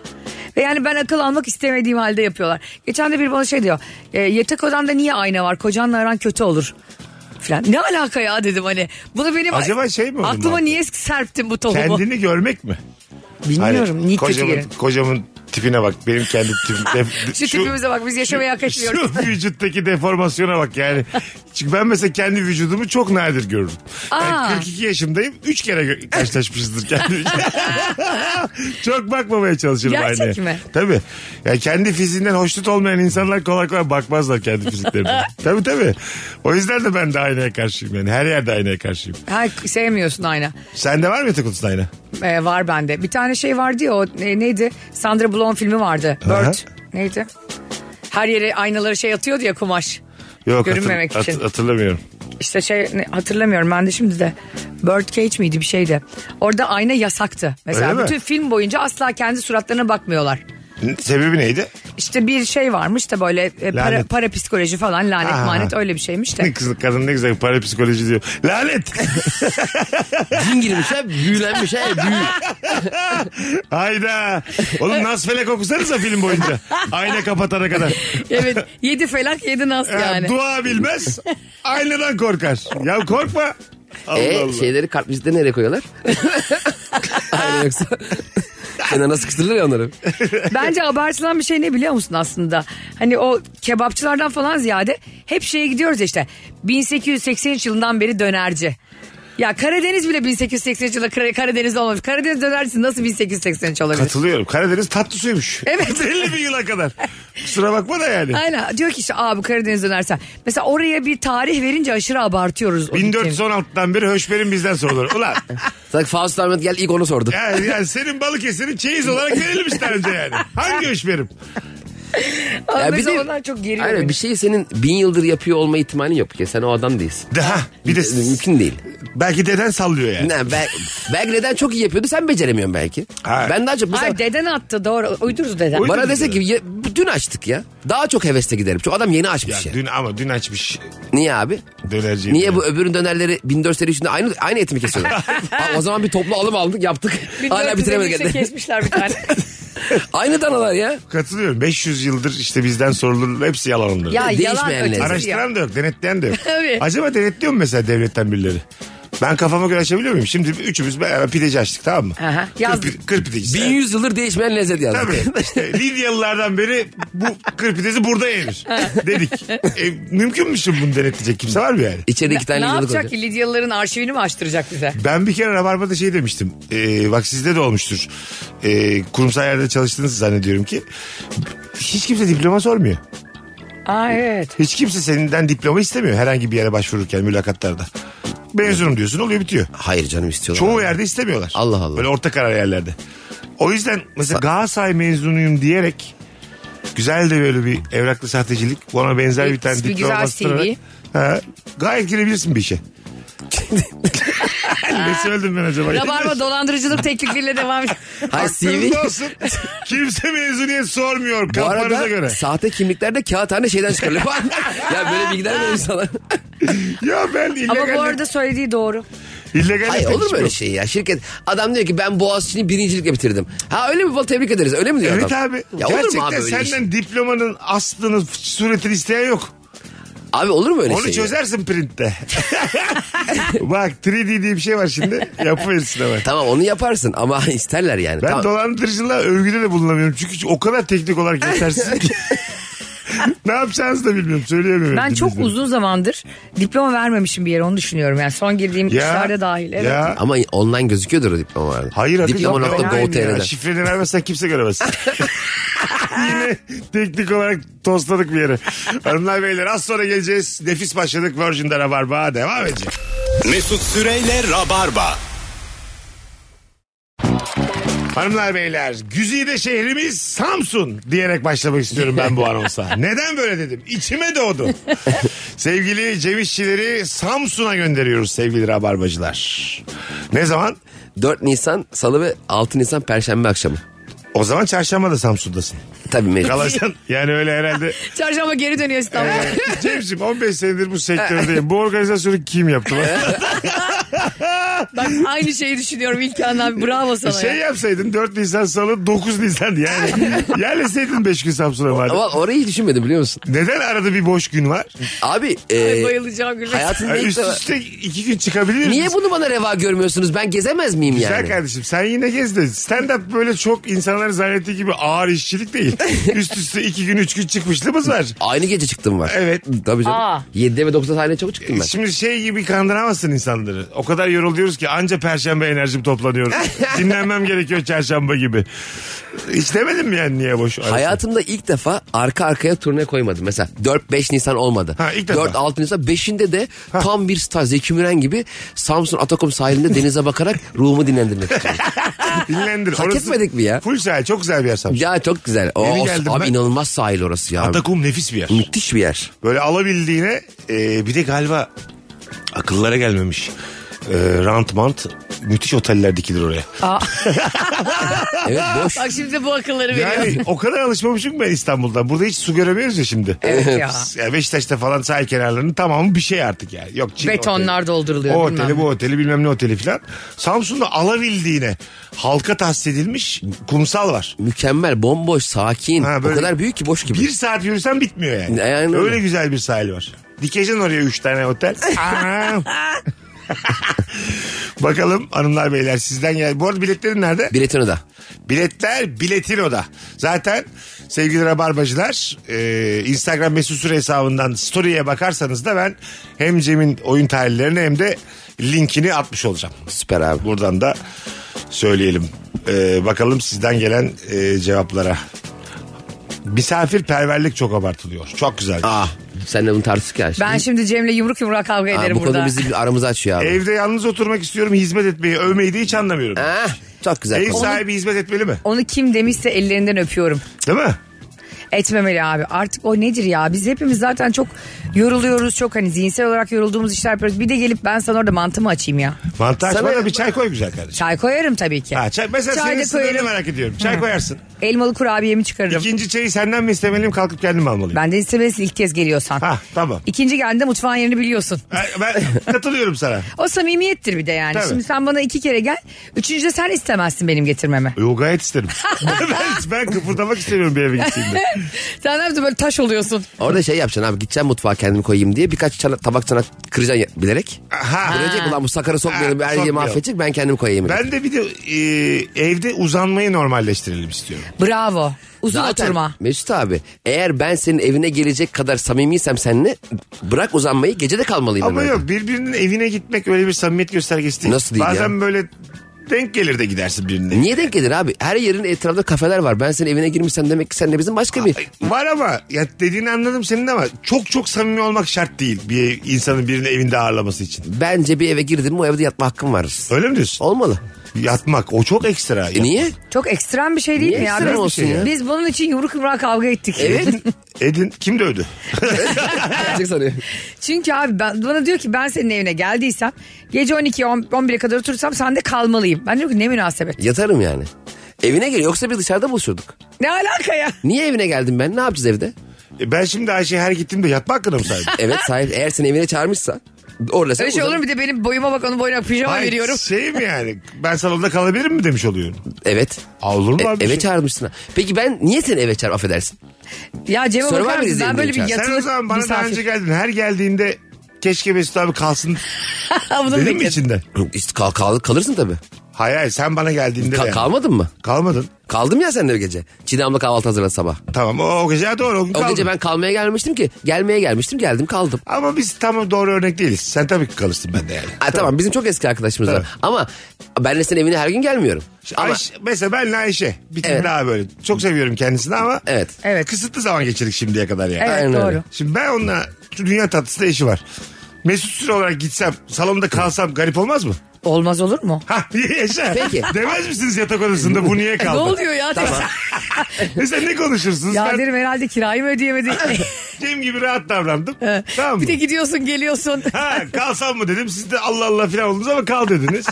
Ve yani ben akıl almak istemediğim halde yapıyorlar. Geçen de bir bana şey diyor. "E, yatak odanda niye ayna var? Kocanla aran kötü olur. Falan. Ne alaka ya dedim hani. Bunu benim
Acaba şey mi oldu
aklıma
bu?
niye serptin bu tohumu?
Kendini görmek mi?
Bilmiyorum.
Hani
niye kötü
kocamın,
gelin?
kocamın tipine bak. Benim kendi tipim. def-
Şu, tipimize bak biz yaşamayı hak etmiyoruz.
Şu vücuttaki deformasyona bak yani. Çünkü ben mesela kendi vücudumu çok nadir görürüm. Yani
Aa.
42 yaşımdayım. 3 kere gö- karşılaşmışızdır kendi Çok bakmamaya çalışırım
Gerçek
aynaya.
mi?
Tabii. Yani kendi fiziğinden hoşnut olmayan insanlar kolay kolay bakmazlar kendi fiziklerine. tabii tabii. O yüzden de ben de aynaya karşıyım yani. Her yerde aynaya karşıyım.
Ha, sevmiyorsun ayna.
Sende var mı yatak odasında ayna?
Ee, var bende. Bir tane şey vardı ya o e, neydi? Sandra Bullock filmi vardı. Bird.
Aha.
Neydi? Her yere aynaları şey atıyordu ya kumaş.
Yok hatır-
Görünmemek
hat-
için.
hatırlamıyorum.
İşte şey ne- hatırlamıyorum ben de şimdi de. Bird Cage miydi bir şeydi. Orada ayna yasaktı. Mesela
Öyle mi?
bütün film boyunca asla kendi suratlarına bakmıyorlar.
N- Sebebi neydi?
İşte bir şey varmış da böyle e, para,
Lanet.
para psikoloji falan lanet
Aha.
manet öyle bir şeymiş de.
Kız, kadın ne güzel parapsikoloji diyor. Lanet!
Cin girmiş ha büyülenmiş ha büyü.
Hayda. Oğlum Nasfelek okusanıza film boyunca. Ayna kapatana kadar.
evet yedi felak yedi nas
Ha,
yani.
Dua bilmez. Aynadan korkar. Ya korkma. Allah
E
Allah.
şeyleri kart vizitleri nereye koyuyorlar? Aynen yoksa. Kenara sıkıştırırlar ya onları.
Bence abartılan bir şey ne biliyor musun aslında? Hani o kebapçılardan falan ziyade hep şeye gidiyoruz ya işte. 1883 yılından beri dönerci. Ya Karadeniz bile 1883 yılında Kar- Karadeniz olmamış. Karadeniz dönercisi nasıl 1883 olabilir?
Katılıyorum. Karadeniz tatlı suymuş.
Evet.
50 bin yıla kadar. Kusura bakma da yani.
Aynen diyor ki işte abi Karadeniz dönersen. Mesela oraya bir tarih verince aşırı abartıyoruz. o gittiğimiz.
1416'dan beri höşberin bizden sorulur. Ulan
Sanki Faust Ahmet geldi ilk onu sordu.
yani, yani senin Balıkesir'in çeyiz olarak verilmiş daha önce yani. Hangi höşberim?
Abi
Ya
mesela onlar çok geriyor
Aynen,
beni.
bir şeyi senin bin yıldır yapıyor olma ihtimalin yok. Ya sen o adam değilsin.
Daha bir de
Mümkün değil.
belki deden sallıyor yani.
Ne, bel- belki neden çok iyi yapıyordu sen beceremiyorsun belki.
Ha.
Ben daha çok mesela
Ay deden attı doğru. Uydurdu deden.
Uy-
bana dese ki ya, dün açtık ya. Daha çok hevesle giderim. Çünkü adam yeni
Ya
açmış ya.
dün ama dün açmış
Niye abi?
dönerciyi.
Niye bu öbürün dönerleri 1400 içinde aynı aynı et mi kesiyorlar? Ha, o zaman bir toplu alım aldık yaptık. Hala
1453'e
bitiremedik.
kesmişler bir tane.
aynı danalar ya.
Katılıyorum. 500 yıldır işte bizden sorulur. Hepsi yalan onların.
ya yalan
Değişmeyen
ötesi
lezzet.
ya.
Araştıran da yok, denetleyen de yok.
Tabii.
Acaba denetliyor mu mesela devletten birileri? Ben kafama göre açabiliyor muyum? Şimdi üçümüz beraber pideci açtık tamam mı?
Aha, yazdık.
Kır, pi- kır pidecisi.
1100 yıldır değişmeyen lezzet yazdık.
Tabii. İşte Lidyalılardan beri bu kır pidesi burada yenir. Dedik. E, mümkün mü şimdi bunu denetleyecek kimse var mı yani?
İçeride iki tane
ne
yıllık
yapacak
olacak.
ki Lidyalıların arşivini mi açtıracak bize?
Ben bir kere Rabarba'da şey demiştim. Ee, bak sizde de olmuştur. Ee, kurumsal yerde çalıştığınızı zannediyorum ki. Hiç kimse diploma sormuyor.
Aa evet.
Hiç kimse seninden diploma istemiyor herhangi bir yere başvururken mülakatlarda. Mezunum diyorsun oluyor bitiyor.
Hayır canım istiyorlar.
Çoğu yerde istemiyorlar.
Allah Allah.
Böyle orta karar yerlerde. O yüzden mesela Galatasaray mezunuyum diyerek güzel de böyle bir evraklı sahtecilik ona benzer bir tane
Bir
diploma
güzel
bastırarak-
CV.
Ha, gayet girebilirsin bir işe. ne söyledim ben acaba?
Rabarba dolandırıcılık teklifiyle devam ediyor.
Hayır CV.
Aklınızda olsun. Kimse mezuniyet sormuyor
Bu
kafanıza
arada
göre.
sahte kimliklerde kağıthane şeyden çıkarılıyor. ya böyle bilgiler veriyor sana.
Ya ben illegal,
Ama bu arada söylediği doğru.
illegal
Hayır
etmek
olur mu öyle
istiyorum.
şey ya? Şirket adam diyor ki ben Boğaziçi'ni birincilikle bitirdim. Ha öyle mi? Vallahi tebrik ederiz. Öyle mi diyor
Evet
adam?
abi.
Ya olur mu
Gerçekten
abi öyle
senden
bir şey?
diplomanın aslını, suretini isteyen yok.
Abi olur mu öyle
Onu
şey? ya?
çözersin printte. Bak 3D diye bir şey var şimdi. Yapıverirsin hemen.
Tamam onu yaparsın ama isterler yani.
Ben
tamam.
dolandırıcılığa övgüde de bulunamıyorum. Çünkü o kadar teknik olarak yetersiz ki. ne yapacağınızı da bilmiyorum. Söyleyemiyorum.
Ben çok
dinleyicilerim.
uzun zamandır diploma vermemişim bir yere onu düşünüyorum. Yani son girdiğim işlerde dahil. Evet.
Ya.
Ama online gözüküyordur o diplomalarda.
Hayır hakikaten online ya.
Diploma.go.tr'den.
Şifreni vermezsen kimse göremez. Yine teknik olarak tostladık bir yere. Hanımlar beyler az sonra geleceğiz. Nefis başladık Virgin'de Rabarba devam edecek.
Mesut Süreyle Rabarba.
Hanımlar beyler güzide şehrimiz Samsun diyerek başlamak istiyorum ben bu anonsa. Neden böyle dedim? İçime doğdu. sevgili Cevişçileri Samsun'a gönderiyoruz sevgili Rabarbacılar. Ne zaman?
4 Nisan Salı ve 6 Nisan Perşembe akşamı.
O zaman çarşamba da Samsun'dasın.
Tabii mecbur.
Kalırsan yani öyle herhalde.
Çarşamba geri dönüyor İstanbul'a.
Cemciğim 15 senedir bu sektördeyim. Bu organizasyonu kim yaptı?
Bak aynı şeyi düşünüyorum ilk andan. Bravo sana
şey
ya.
yapsaydın 4 Nisan salı 9 Nisan yani. Yerleseydin 5 gün Samsun'a madem.
Ama orayı hiç düşünmedim biliyor musun?
Neden arada bir boş gün var?
Abi e,
Bayılacağım güle.
hayatında
Ay,
ilk
Üst
defa-
üste iki gün çıkabilir
Niye
misin?
bunu bana reva görmüyorsunuz? Ben gezemez miyim
Güzel
yani?
kardeşim sen yine gez de stand up böyle çok insanların zannettiği gibi ağır işçilik değil. Üst üste iki gün üç gün çıkmışlığımız var.
Aynı gece çıktım var.
Evet.
Tabii canım.
Aa.
7'de ve 9'da sahneye çok çıktım ben.
Şimdi şey gibi kandıramazsın insanları. O kadar yoruluyoruz ki anca perşembe enerjim toplanıyor. Dinlenmem gerekiyor çarşamba gibi. Hiç demedin mi yani niye boş? arası?
Hayatımda ilk defa arka arkaya turne koymadım. Mesela 4-5 Nisan olmadı.
Ha, ilk defa.
4-6 Nisan. 5'inde de tam bir star Zeki Müren gibi Samsun Atakum sahilinde denize bakarak ruhumu dinlendirmek istiyorum.
Dinlendir.
Hak etmedik mi ya?
Full sahil çok güzel bir yer Samsun.
ya çok güzel. O,
Yeni
o-
geldim
abi
ben.
inanılmaz sahil orası ya.
Atakum nefis bir yer.
Müthiş bir yer.
Böyle alabildiğine e, bir de galiba akıllara gelmemiş. E, rant mant müthiş oteller dikilir oraya.
Evet boş.
Bak şimdi bu akılları veriyor.
Yani o kadar alışmamışım ki ben İstanbul'da. Burada hiç su göremiyoruz ya şimdi.
Evet ya.
Ya Beşiktaş'ta falan sahil kenarlarının tamamı bir şey artık yani. Yok Çin
Betonlar
oteli.
dolduruluyor,
O
bilmem
oteli
ne.
bu oteli bilmem ne oteli filan. Samsun'da alabildiğine halka tahsis edilmiş kumsal var.
Mükemmel, bomboş, sakin.
Ha, böyle
o kadar büyük ki boş gibi.
Bir saat yürüsen bitmiyor yani.
Yani öyle.
Öyle güzel bir sahil var. Dikeceksin oraya üç tane otel. Aa. Bakalım hanımlar beyler sizden gel. Bu arada biletlerin nerede?
Biletini de.
Biletler Biletino'da. Zaten sevgili Rabarbacılar e, Instagram mesut süre hesabından story'e bakarsanız da ben hem Cem'in oyun tarihlerini hem de linkini atmış olacağım.
Süper abi.
Buradan da söyleyelim. E, bakalım sizden gelen e, cevaplara. Misafirperverlik çok abartılıyor. Çok güzel.
Aa, senle bunu tartıştık ya.
Ben şimdi Cem'le yumruk yumruğa kavga
Aa,
ederim
bu
burada.
konu bizi bir aramızı açıyor abi.
Evde yalnız oturmak istiyorum hizmet etmeyi övmeyi de hiç anlamıyorum.
Ah, çok güzel.
Ev
konu.
sahibi hizmet etmeli mi?
Onu kim demişse ellerinden öpüyorum.
Değil mi?
Etmemeli abi. Artık o nedir ya? Biz hepimiz zaten çok yoruluyoruz. Çok hani zihinsel olarak yorulduğumuz işler yapıyoruz. Bir de gelip ben sana orada mantımı açayım ya.
Mantar açma
Sana-
da bir çay koy güzel kardeşim.
Çay koyarım tabii ki.
Ha, çay, mesela
Çay
senin
da
sınırını
koyarım.
merak ediyorum. Çay koyarsın.
Elmalı kurabiyemi çıkarırım.
İkinci çayı senden mi istemeliyim kalkıp kendim mi almalıyım?
Benden istemelisin ilk kez geliyorsan.
Ha tamam.
İkinci geldiğinde mutfağın yerini biliyorsun.
Ben, ben katılıyorum sana.
O samimiyettir bir de yani.
Tabii.
Şimdi sen bana iki kere gel. Üçüncüde sen istemezsin benim getirmemi.
Yo gayet isterim. ben, ben kıpırdamak istemiyorum bir eve gittiğimde.
sen ne yaptın böyle taş oluyorsun.
Orada şey yapacaksın abi gideceğim mutfağa kendimi koyayım diye birkaç çana, tabak çanak kıracaksın ya- bilerek.
Aha.
Görecek ulan bu sakarı sokmayalım
Ha,
her yeri
sokmayalım.
mahvedecek ben kendimi koyayım.
Ben de bir de e, evde uzanmayı normalleştirelim istiyorum.
Bravo. Uzun oturma.
Mesut abi eğer ben senin evine gelecek kadar samimiysem seninle bırak uzanmayı gecede kalmalıyım.
Ama
hemen.
yok birbirinin evine gitmek öyle bir samimiyet göstergesi değil.
Nasıl değil
Bazen
ya?
böyle denk gelir de gidersin birine.
Niye denk gelir abi? Her yerin etrafında kafeler var. Ben senin evine girmişsem demek ki seninle bizim başka bir...
Ay, Var ama ya dediğini anladım senin ama çok çok samimi olmak şart değil bir insanın birini evinde ağırlaması için.
Bence bir eve girdim mi o evde yatma hakkım var.
Öyle mi diyorsun?
Olmalı.
Yatmak o çok ekstra.
E niye?
Çok ekstrem bir şey değil
Niye
mi ya?
ekstrem
Biz,
olsun ya?
biz bunun için yumruk yumruğa kavga ettik.
Evet.
Edin kim dövdü?
Gerçek sanıyor.
Çünkü abi ben, bana diyor ki ben senin evine geldiysem gece 12 on- 11'e kadar otursam sende kalmalıyım. Ben diyorum ki ne münasebet.
Yatarım yani. Evine gel yoksa biz dışarıda buluşurduk.
Ne alaka ya?
Niye evine geldim ben? Ne yapacağız evde?
E ben şimdi Ayşe her gittiğimde yatma hakkına mı sahibim?
Evet sahip eğer seni evine çağırmışsa orada sen
Öyle şey
uzan-
olur mu? Bir de benim boyuma bak onun boyuna pijama
Hayır,
veriyorum.
Şey mi yani? Ben salonda kalabilir mi demiş oluyorum.
Evet.
Aa, olur mu
E-
abi?
eve
Şey-
çağırmışsın. Peki ben niye seni eve çağır affedersin?
Ya Cem'e
Survivor
bakar mısın?
izleyelim
Ben böyle bir
diyorum
Sen o
yatılıp
zaman bana daha önce
misafir.
geldin. Her geldiğinde keşke Mesut abi kalsın
Bunu
dedin mi
bekledim.
içinden?
İşte kal- kal- kalırsın tabii.
Hayır hayır sen bana geldiğinde
Ka-
de.
kalmadın mı?
Kalmadın.
Kaldım ya sen de o gece. Çiğdem'le kahvaltı hazırladı sabah.
Tamam o, o gece doğru o gün
O
kaldın.
gece ben kalmaya gelmiştim ki. Gelmeye gelmiştim geldim kaldım.
Ama biz tam doğru örnek değiliz. Sen tabii ki kalırsın bende yani.
Ha, tamam bizim çok eski arkadaşımız var. Ama ben de senin evine her gün gelmiyorum. Ama
Ayşe, mesela benle Ayşe. Bir tane
Evet.
daha böyle. Çok seviyorum kendisini ama.
Evet.
Evet.
Kısıtlı zaman geçirdik şimdiye kadar yani.
Evet
Aynen öyle.
doğru.
Şimdi ben onunla şu dünya tatlısı da işi var. Mesut Süre olarak gitsem salonda kalsam garip olmaz mı?
Olmaz olur mu?
Ha yaşa.
Peki.
Demez misiniz yatak odasında bu niye
E, ne
kaldı?
oluyor ya?
Mesela ne konuşursunuz?
ya
ben
derim herhalde kirayı mı ödeyemedi?
Cem gibi rahat davrandım. tamam mı?
bir de gidiyorsun geliyorsun.
Ha kalsam mı dedim. Siz de Allah Allah filan oldunuz ama kal dediniz.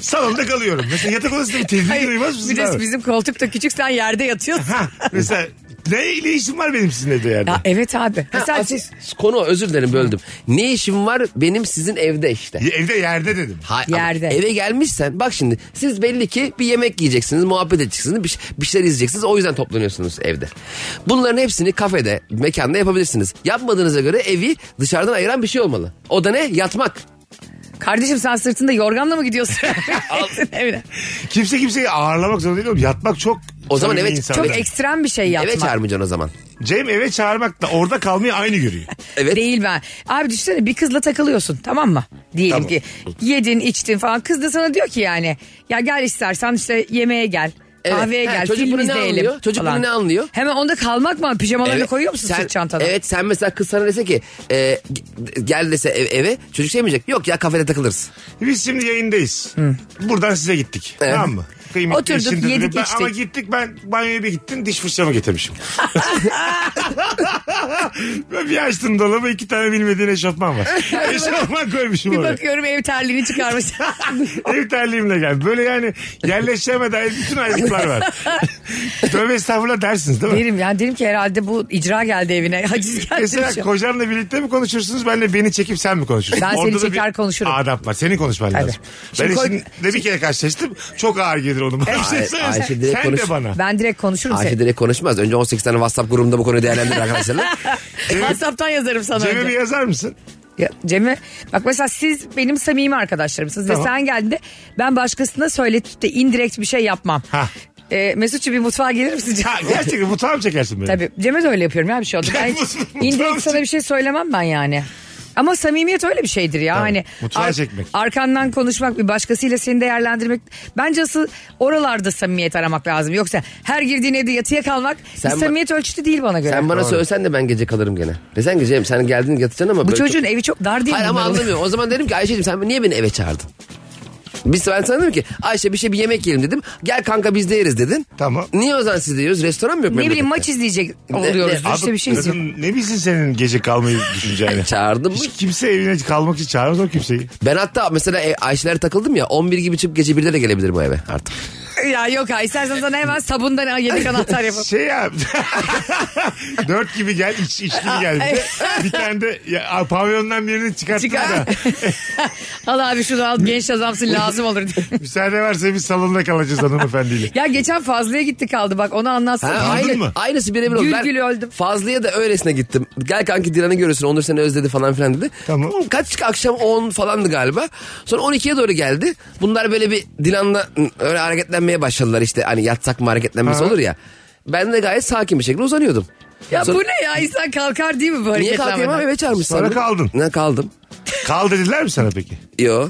Salonda kalıyorum. Mesela yatak odasında bir tedirgin
Hayır,
duymaz mısınız?
bir de
abi?
bizim koltuk da küçük sen yerde yatıyorsun.
Ha, mesela ne ile işim var benim sizin evde yerde?
ya evet abi.
Ha,
Mesela
asıl konu o, özür dilerim böldüm. Ne işim var benim sizin evde işte.
Ya, Evde yerde dedim.
Ha- ama
Yerde.
Eve gelmişsen bak şimdi siz belli ki bir yemek yiyeceksiniz, muhabbet edeceksiniz, bir, bir şeyler izleyeceksiniz. O yüzden toplanıyorsunuz evde. Bunların hepsini kafede, mekanda yapabilirsiniz. Yapmadığınıza göre evi dışarıdan ayıran bir şey olmalı. O da ne? Yatmak.
kardeşim sen sırtında yorganla mı gidiyorsun? Evine.
Kimse kimseyi ağırlamak zorunda değil oğlum. Yatmak çok
O zaman
samimi
evet,
insanlar.
Çok ekstrem bir şey
Eve
yapmak.
çağırmayacaksın o zaman.
Cem eve çağırmakla orada kalmayı aynı görüyor.
Evet.
Değil ben. Abi düşünsene bir kızla takılıyorsun tamam mı? Diyelim
Tamam.
ki yedin içtin falan. Kız da sana diyor ki yani ya gel istersen işte yemeğe gel.
Evet.
Kahveye
Ha,
gel,
çocuk
film
bunu ne
izleyelim.
anlıyor? Çocuk bunu
falan.
ne anlıyor?
Hemen onda kalmak mı? Pijamalarını
Evet,
koyuyor musun
sen-
sırt çantana?
Evet sen mesela kız sana dese ki e, g- gel dese ev- eve çocuk şey mi diyecek? Yok ya kafede takılırız.
Biz şimdi yayındayız. Buradan size gittik.
Evet.
Tamam mı? Kıymetli
Oturduk,
işindir
yedik,
dedim. Ben-
içtik.
Ama gittik ben banyoya bir gittim diş fırçamı getirmişim. ben bir açtım dolabı iki tane bilmediğin eşofman var. eşofman koymuşum
Bir
oraya.
bakıyorum ev terliğini çıkarmış.
Ev terliğimle gel. Böyle yani yerleşeceğime dair bütün ayrıntılar var. Tövbe estağfurullah dersiniz değil mi?
derim yani derim ki herhalde bu icra geldi evine. Haciz geldi.
Mesela
şu an.
kocanla birlikte mi konuşursunuz? Benle beni çekip sen mi konuşursun?
Ben seni
Orada da
çeker
bir
konuşurum.
Adap var. Senin konuşman
Tabii.
lazım.
Şimdi
ben
koy-
eşinle bir kere karşılaştım. Çok ağır gelir onun. bana. Bir şey
Ay-
söylesen.
Ayşe direkt
sen de
konuş.
bana.
Ben direkt konuşurum
Ayşe
seni.
direkt konuşmaz. Önce 18 tane WhatsApp grubunda bu konuyu değerlendirir arkadaşlarla.
WhatsApp'tan yazarım sana
Cem'e
önce.
bir yazar mısın?
Ya, Cem'e bak mesela siz benim samimi arkadaşlarımsınız
Tamam.
ve sen geldiğinde ben başkasına söyletip de indirekt bir şey yapmam.
Ha.
Ee, Mesut'cu bir mutfağa gelir misin? Cem?
Ha, gerçekten bu tam çekersin beni.
Tabii Cem'e de öyle yapıyorum ya bir şey oldu. Ben hiç
Mutfağa mı
indirekt sana
çek-
bir şey söylemem ben yani. Ama samimiyet öyle bir şeydir ya.
Tamam.
Hani
Mutfağa çekmek.
Arkandan konuşmak, bir başkasıyla seni değerlendirmek. Bence asıl oralarda samimiyet aramak lazım. Yoksa her girdiğin evde yatıya kalmak
Sen
bir
ba-
samimiyet ölçütü değil bana göre.
Sen bana söylesen de ben gece kalırım gene. Desen ki Cem sen geldin yatacaksın ama...
Bu
böyle
çocuğun evi çok dar değil
Hayır
mi?
ama anlamıyorum. O zaman dedim ki Ayşe'cim sen niye beni eve çağırdın? Biz ben sana dedim ki Ayşe bir şey bir yemek yiyelim dedim. Gel kanka biz de yeriz dedin.
Tamam.
Niye o zaman siz de yiyoruz? Restoran mı yok?
Ne bileyim
memlekette?
maç izleyecek
Ne-
oluyoruz.
ne-
işte bir şey izliyor.
Kadın ne bilsin senin gece kalmayı düşüneceğini.
Çağırdım mı?
Hiç kimse evine kalmak için çağırmaz o kimseyi.
Ben hatta mesela e, Ayşe'lere takıldım ya 11 gibi çıkıp gece 1'de de gelebilir bu eve artık.
Ya yok ha istersen sana hemen sabundan yedek anahtar yapalım.
Şey ya. Dört gibi gel iç, iç gibi gel. Bir, de, bir tane de ya, pavyondan birini çıkarttın
Çıkar.
da.
al abi şunu al genç adamsın lazım olur diye.
Müsaade varsa biz salonda kalacağız hanımefendiyle.
ya geçen Fazlı'ya gitti kaldı bak onu anlatsana.
Ha, aynı,
mı?
Aynısı birebir oldu.
Gül
Ben
gül öldüm.
Fazlı'ya da öylesine gittim. Gel kanki Dilan'ı görürsün. Onur seni özledi falan filan dedi.
Tamam.
Oğlum Kaç akşam 10 falandı galiba. Sonra 12'ye doğru geldi. Bunlar böyle bir Dilan'la ı, öyle hareketlenmeye başladılar işte. Hani yatsak mı hareketlenmesi
Ha.
olur ya. Ben de gayet sakin bir şekilde uzanıyordum.
Ya
Sonra-
bu ne ya insan kalkar değil mi bu
Niye
hareketlenmeden?
kalkayım abi eve çağırmış
Sonra
sandım.
kaldın.
Ne kaldım?
Kal dediler mi sana peki?
Yo.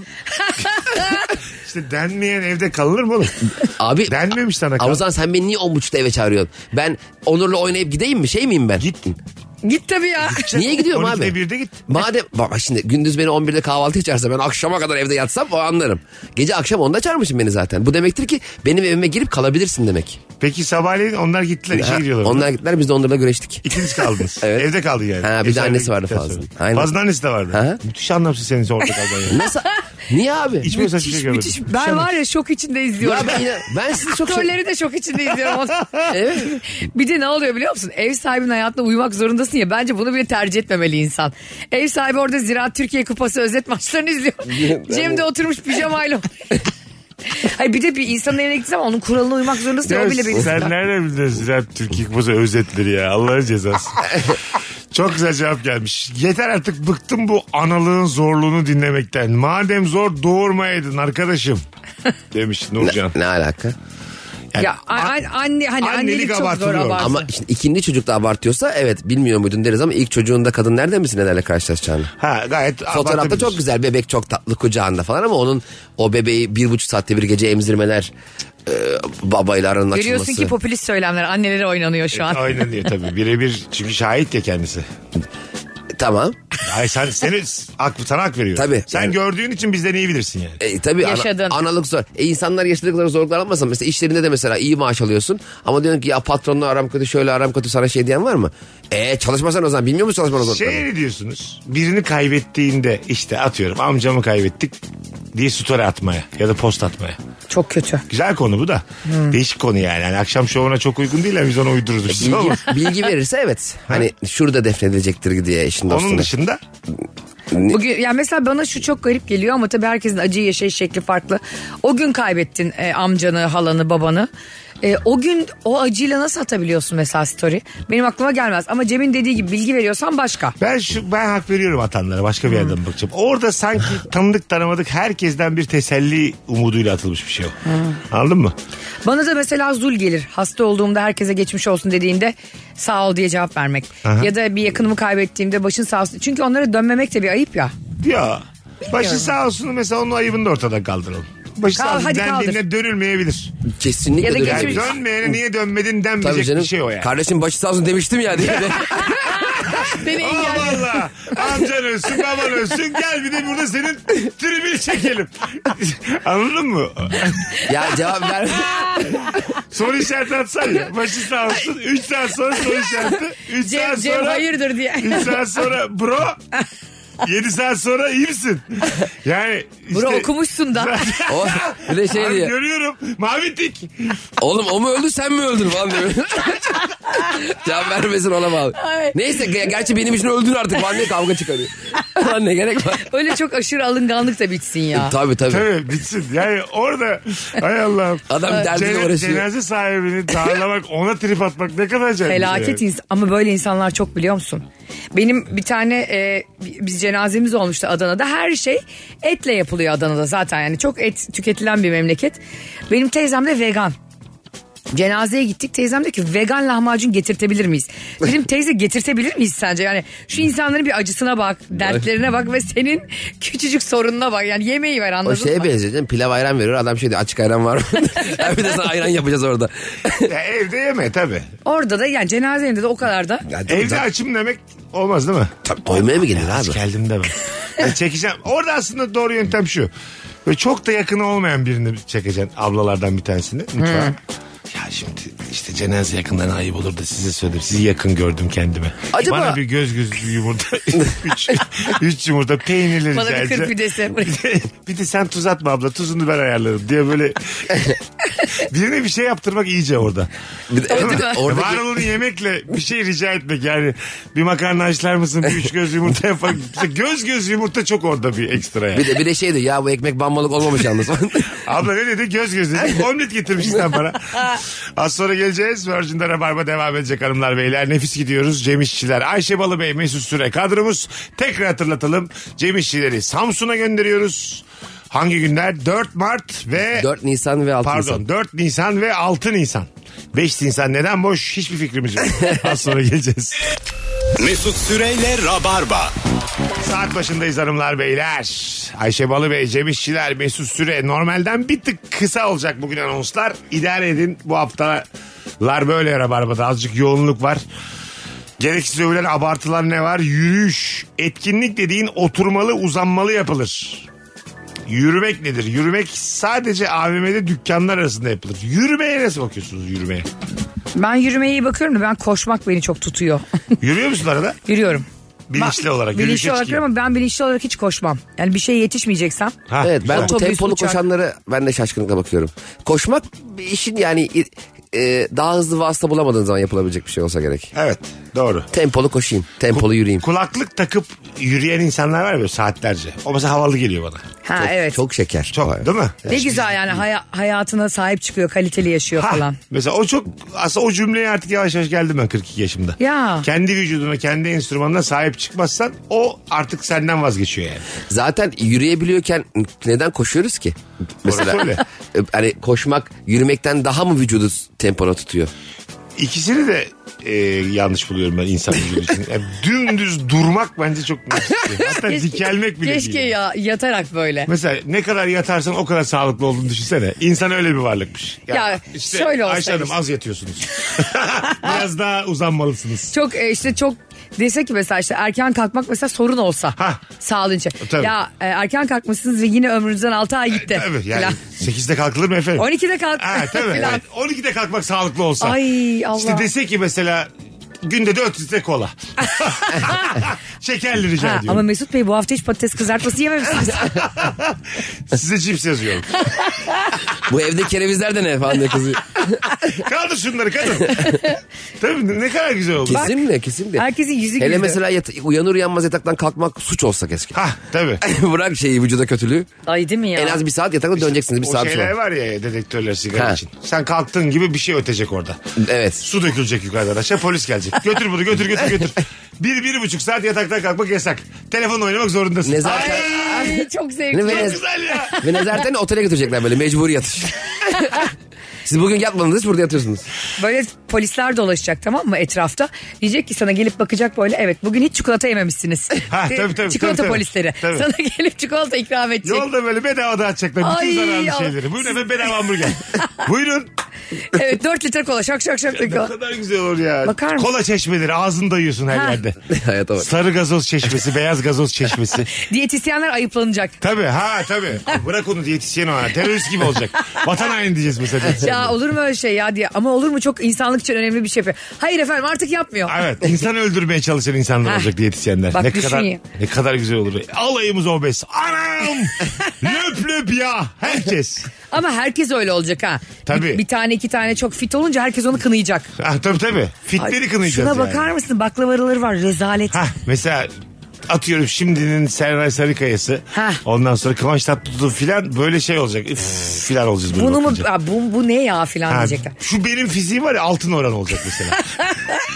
İşte denmeyen evde kalınır mı oğlum?
Abi.
Denmemiş sana kal.
Ama o zaman sen beni niye 10.30'da eve çağırıyorsun? Ben Onur'la oynayıp gideyim mi? Şey miyim ben?
Git.
Git tabii ya.
Niye gidiyorum
12'de
abi?
1'de git.
Madem bak şimdi gündüz beni 11'de kahvaltı içerse ben akşama kadar evde yatsam o anlarım. Gece akşam 10'da çağırmışım beni zaten. Bu demektir ki benim evime girip kalabilirsin demek.
Peki sabahleyin onlar gittiler işe
Ha,
gidiyorlar.
onlar gittiler biz de onlarla güreştik.
İkiniz kaldınız.
Evet.
Evde kaldı yani.
Ha, bir de
Eşler
annesi vardı
gittikten
Fazlı'nın.
sonra.
Aynen.
Fazlı'nın annesi de vardı.
Hı hı.
Müthiş anlamsız senin orada kalman yani.
Nasıl? Niye abi?
Hiç böyle saçma şey görmedim.
Müthiş. Ben var ya şok içinde izliyorum.
Ya ben, yine- ben sizi çok şey...
Trolleri de şok içinde izliyorum. onu.
Evet.
bir de ne oluyor biliyor musun? Ev sahibinin hayatına uymak zorundasın ya. Bence bunu bile tercih etmemeli insan. Ev sahibi orada Ziraat Türkiye Kupası özet maçlarını izliyor. Cem de oturmuş pijamayla. Hayır bir de bir insanın evine gittiği zaman onun kuralına uymak zorundasın. ya,
Ya
o bile beni
Sen
sıkar.
nereden biliyorsun ya Türkiye Kupası özetleri ya Allah'ın cezası. Çok güzel cevap gelmiş. Yeter artık bıktım bu analığın zorluğunu dinlemekten. Madem zor doğurmayaydın arkadaşım. demiş Nurcan.
Ne alaka?
Yani
ya a- a- anne hani
Annelik
annelik, çok zor
abartılıyor.
abartı.
Ama şimdi ikinci çocuk da abartıyorsa evet bilmiyor muydun deriz ama ilk çocuğunda kadın nerede misin nelerle karşılaşacağını?
Ha gayet
Fotoğrafta
abartabilir.
çok güzel bebek çok tatlı kucağında falan ama onun o bebeği bir buçuk saatte bir gece emzirmeler e, babayla aranın
Görüyorsun
açılması.
ki popülist söylemler annelere oynanıyor şu an.
Aynen diyor tabii. Birebir çünkü şahit ya kendisi.
Tamam.
Ay sen seni hak, sana hak veriyor.
Tabii.
Sen
Yani-
gördüğün için bizden iyi bilirsin yani.
E, tabii ana-
Yaşadın.
analık zor. E, insanlar yaşadığı kadar zorluklar almasa mesela işlerinde de mesela iyi maaş alıyorsun. Ama diyorsun ki ya patronla aram kötü şöyle aram kötü sana şey diyen var mı? E çalışmasan o zaman bilmiyor musun çalışman o zaman?
Şey ne diyorsunuz? Birini kaybettiğinde işte atıyorum amcamı kaybettik diye story atmaya ya da post atmaya.
Çok kötü.
Güzel konu bu da.
Hmm.
Değişik konu yani. Yani akşam şovuna çok uygun değil ama biz onu uydururuz. bir şey
E, Bilgi,
olur.
bilgi verirse evet. Hani şurada defnedilecektir diye eşin dostuna.
Onun dışında
Bugün yani mesela bana şu çok garip geliyor ama tabii herkesin acıyı yaşayış şekli farklı. O gün kaybettin e, amcanı, halanı, babanı. E, o gün o acıyla nasıl atabiliyorsun mesela story? Benim aklıma gelmez ama Cem'in dediği gibi bilgi veriyorsan başka.
ben şu ben hak veriyorum atanlara başka
Hmm.
bir yerden bakacağım. Orada sanki tanıdık tanımadık herkesten bir teselli umuduyla atılmış bir şey o.
Hmm.
Anladın mı?
Bana da mesela zul gelir. Hasta olduğumda herkese geçmiş olsun dediğinde sağ ol diye cevap vermek.
Aha.
Ya da bir yakınımı kaybettiğimde başın sağ olsun. Çünkü onlara dönmemek de bir ayıp ya.
Ya. Başı sağ olsun mesela onun ayıbını da ortadan kaldıralım. Başı
Kal-
sağ olsun
hadi
dendiğine dönülmeyebilir.
Kesinlikle
Ya da
dönüyor.
Yani
Geçmiş-
dönmeyene niye dönmedin
Tabii
denmeyecek
canım.
bir şey o yani.
Kardeşim başı sağ olsun demiştim ya diye.
Beni
Aa valla amcan ölsün baban ölsün gel bir de burada senin tribini çekelim. Anladın mı?
ya cevap ver.
Soru işareti atsan ya. Başı sağ olsun. 3 saat sonra soru işareti. 3
Cem,
saat
Cem
sonra.
hayırdır diye.
3 saat sonra bro. 7 saat sonra iyi misin? Yani işte.
Bro okumuşsun da.
O, bir de şey
Abi
diyor.
görüyorum. Mavi tik.
Oğlum o mu öldü sen mi öldün falan diyor. Cevap vermesin ona bağlı.
Ay.
Neyse ge- gerçi benim için öldün artık falan diye kavga çıkarıyor. Lan ne gerek var?
Öyle çok aşırı alınganlık da bitsin ya.
Tabii tabii.
Tabii bitsin. Yani orada hay Allah'ım.
Adam derdiyle
Cene-
uğraşıyor.
Cenaze sahibini darlamak ona trip atmak ne kadar acayip. bir şey.
Felaket ins- ama böyle insanlar çok biliyor musun? Benim bir tane e, biz cenazemiz olmuştu Adana'da. Her şey etle yapılıyor Adana'da zaten yani çok et tüketilen bir memleket. Benim teyzem de vegan. Cenazeye gittik teyzem dedi ki vegan lahmacun getirtebilir miyiz? Dedim teyze getirtebilir miyiz sence? Yani şu insanların bir acısına bak, dertlerine bak ve senin küçücük sorununa bak. Yani yemeği ver
O
anladın
şeye
mı?
benziyor canım. Pilav ayran veriyor. Adam şey diyor açık ayran var mı? ya bir de sana ayran yapacağız orada.
Ya evde yeme tabii.
Orada da yani cenazemde de o kadar da
Ya tabii,
Evde açım demek olmaz değil mi?
tabii, doymaya mı gelir
Aç
abi?
geldim de ben. E, çekeceğim. Orada aslında doğru yöntem şu. Ve çok da yakın olmayan birini çekeceksin ablalardan bir tanesini
Hmm.
mutfağa. Ya şimdi işte cenaze yakından ayıp olur da size söyledim. Sizi yakın gördüm kendime.
Acaba-
Bana bir göz göz yumurta, üç, üç yumurta peynirli rica
bana bir
edeceğim.
kır pidesi.
bir de sen tuz atma abla tuzunu ben ayarlarım diye böyle birine bir şey yaptırmak iyice orada.
Bir de, evet, bir de oradaki-
Var olanı yemekle bir şey rica etmek yani bir makarna açlar mısın bir üç göz yumurta yapar mısın? göz göz yumurta çok orada bir ekstra yani.
bir de, bir de şey diyor ya bu ekmek bambalık olmamış yalnız.
Abla ne dedi göz göz dedi omlet getirmişsin sen bana. Az sonra geleceğiz Virgin'de Rabarba devam edecek hanımlar beyler nefis gidiyoruz Cem İşçiler Ayşe Balıbey Mesut Süre kadromuz tekrar hatırlatalım Cem İşçileri Samsun'a gönderiyoruz. Hangi günler? 4 Mart ve
4 Nisan ve 6 Nisan.
Pardon 4 Nisan ve 6 Nisan. 5 Nisan neden boş hiçbir fikrimiz yok. Az sonra geleceğiz.
Mesut Süreyle Rabarba.
Saat başındayız hanımlar beyler. Ayşe Balıbey, Cem İşçiler, Mesut Süre. Normalden bir tık kısa olacak bugün anonslar. İdare edin bu haftalar böyle rabarbada azıcık yoğunluk var. Gereksiz övülen abartılar ne var? Yürüyüş. Etkinlik dediğin oturmalı uzanmalı yapılır. Yürümek nedir? Yürümek sadece AVM'de dükkanlar arasında yapılır. Yürümeye nasıl bakıyorsunuz yürümeye?
Ben yürümeye iyi bakıyorum da ben koşmak beni çok tutuyor.
Yürüyor musun arada?
Yürüyorum.
Bilinçli
Ba-
olarak. yürüyüşe
Bilinçli olarak
çıkayım.
ama ben bilinçli olarak hiç koşmam. Yani bir şeye yetişmeyeceksem.
Ha,
Evet ben
güzel.
bu
Otobüs,
tempolu
uçak.
koşanlara ben de şaşkınlıkla bakıyorum. Koşmak bir işin yani e, daha hızlı vasıta bulamadığın zaman yapılabilecek bir şey olsa gerek.
Evet doğru.
Tempolu koşayım, tempolu yürüyeyim.
Kulaklık takıp yürüyen insanlar var ya böyle saatlerce. O mesela havalı geliyor bana.
Ha evet.
Çok şeker.
Çok
Vay.
değil mi?
ne güzel yani haya- hayatına sahip çıkıyor, kaliteli yaşıyor
Ha,
falan.
Mesela o çok aslında o cümleye artık yavaş yavaş geldim ben 42 yaşımda.
Ya.
Kendi vücuduna kendi enstrümanına sahip çıkmazsan o artık senden vazgeçiyor yani.
Zaten yürüyebiliyorken neden koşuyoruz ki? Mesela
öyle.
e, hani koşmak yürümekten daha mı vücudu tempona tutuyor?
İkisini de e, yanlış buluyorum ben insan vücudu için. Yani dümdüz durmak bence çok mantıklı. Hatta dikelmek bile
Keşke
değil.
ya, yatarak böyle.
Mesela ne kadar yatarsan o kadar sağlıklı olduğunu düşünsene. İnsan öyle bir varlıkmış.
Ya şöyle olsaymış.
Ayşe Hanım az yatıyorsunuz. Biraz daha uzanmalısınız.
Çok e, işte çok dese ki mesela işte erken kalkmak mesela sorun olsa.
Hah.
Sağlığın için.
Tabii. E,
Ya e, erken kalkmışsınız ve yine ömrünüzden 6 ay gitti.
Tabii yani
Falan.
8'de kalkılır mı efendim?
12'de kalk.
Ha, tabii.
Falan.
Evet. 12'de kalkmak sağlıklı olsa.
Ay Allah.
İşte dese ki mesela günde 4 litre kola. Şekerli rica
Ha, ama
ediyorum.
Mesut Bey bu hafta hiç patates kızartması yememişsiniz.
Size cips yazıyorum.
Bu evde kerevizler de ne falan diye kızıyor.
Kaldır şunları kadın. Tabii ne kadar güzel oldu.
kesinlikle kesinlikle.
Herkesin yüzü
Hele
güldü.
mesela yata- uyanır uyanmaz yataktan kalkmak suç olsa keşke.
Ha tabii.
Bırak şeyi vücuda kötülüğü.
Ay değil mi ya?
En az bir saat yatakta döneceksiniz bir
O
saat
şeyler
sonra.
var ya dedektörler sigara
Ha.
için. Sen kalktığın gibi bir şey ötecek orada.
Evet.
Su dökülecek yukarıdan aşağı polis gelecek. Götür bunu götür götür götür. Bir, bir buçuk saat yataktan kalkmak yasak. Telefonla oynamak zorundasın.
Nezahat-
Ay,
Ay, çok
Ve,
zevkli.
ne,
çok güzel ya.
ve nezareten otele götürecekler böyle mecburi yatış. Siz bugün yatmadınız burada yatıyorsunuz.
Böyle polisler dolaşacak tamam mı etrafta? Diyecek ki sana gelip bakacak böyle evet bugün hiç çikolata yememişsiniz.
Ha,
De-
tabii, tabii,
çikolata
tabii, tabii.
polisleri.
Tabii.
Sana
Gelip çikolata ikram edecek.
Yolda böyle bedava dağıtacaklar bütün
Ay,
zararlı
Allah.
şeyleri. Buyurun efendim bedava hamburger. Buyurun.
evet 4 litre kola şak şak şak.
Ne kadar güzel olur ya.
Bakar mısın?
Kola çeşmeleri ağzını dayıyorsun her
Ha.
yerde.
Hayata bak.
Sarı gazoz çeşmesi, beyaz gazoz çeşmesi.
Diyetisyenler ayıplanacak.
Tabii ha tabii. Bırak onu diyetisyen ona. Terörist gibi olacak. Vatan haini diyeceğiz mesela. diyetisyene.
Ya olur mu öyle şey ya diye. Ama olur mu çok insanlık için önemli bir şey yapıyor. Hayır efendim artık yapmıyor.
Evet insan öldürmeye çalışan insanlar olacak diyetisyenler.
Bak
ne
düşün
kadar
ya.
ne kadar güzel olur. Alayımız obez. Anam! löp löp ya herkes.
Ama herkes öyle olacak ha.
Tabii.
Bir, bir tane iki tane çok fit olunca herkes onu kınayacak.
Ah, tabii tabii. Fitleri
Ay,
kınayacağız
Şuna
yani.
bakar mısın baklavaları var rezalet.
Hah, mesela atıyorum şimdinin Serenay Sarıkaya'sı.
Hah.
Ondan sonra Kıvanç Tatlıtuğ filan böyle şey olacak. Üf filan olacağız böyle
Bunu mu
bakınca.
ha, bu, bu ne ya filan
Ha,
diyecekler.
şu benim fiziğim var ya altın oran olacak mesela.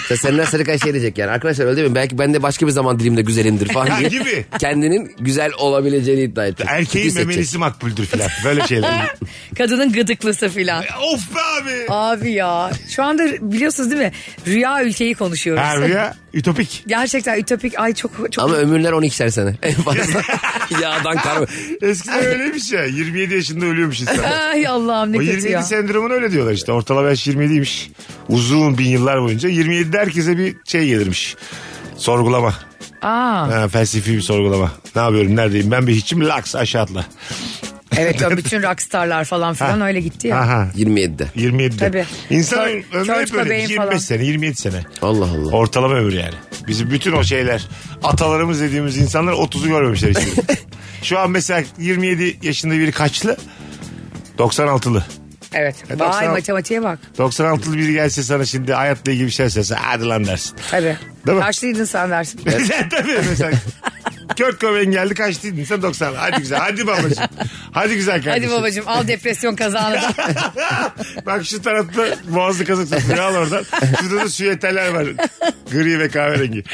Sen Serenay Sarıkaya şey diyecek yani. Arkadaşlar öyle değil mi? Belki ben de başka bir zaman dilimde güzelimdir falan
Ha,
diye.
gibi.
Kendinin güzel olabileceğini iddia etti.
Erkeğin
Hissedecek.
memelisi makbuldür filan. Böyle şeyler.
Kadının gıdıklısı filan.
of be abi.
Abi ya şu anda biliyorsunuz değil mi rüya ülkeyi konuşuyoruz.
Her rüya ütopik.
Gerçekten ütopik ay çok çok
Ama ömürler 12'şer sene. En fazla. Yağdan kar.
Eskiden öyleymiş ya. 27 yaşında ölüyormuş insan.
ay Allah'ım ne
O
kötü
27
ya.
sendromunu öyle diyorlar işte. Ortalama yaş 27'ymiş. Uzun bin yıllar boyunca 27'de herkese bir şey gelirmiş. Sorgulama.
Aa,
Ha, felsefi bir sorgulama. Ne yapıyorum neredeyim ben bir hiçim laks aşağı atla.
evet ya bütün rockstarlar falan filan öyle gitti ya.
Aha.
27'de.
27'de.
Tabii.
İnsan
Kurt-
ömrü hep
Kurt
öyle.
Cobain
25
falan.
sene 27 sene.
Allah Allah.
Ortalama ömür yani. Bizim bütün o şeyler atalarımız dediğimiz insanlar 30'u görmemişler işte. Şu an mesela 27 yaşında biri kaçlı? 96'lı.
Evet.
E,
Vay
96
matematiğe bak.
96'lı biri gelse sana şimdi hayatla ilgili bir şey söylese hadi lan dersin.
Tabii.
Değil mi?
Karşıydın sen dersin.
Sen Tabii mesela. Kurt Cobain geldi kaçtıydın sen 90. Hadi güzel hadi babacığım. Hadi güzel kardeşim.
Hadi babacığım al depresyon kazanı da.
Bak şu tarafta boğazlı kazak satılıyor al oradan. Şurada da süyeterler var. Gri ve kahverengi.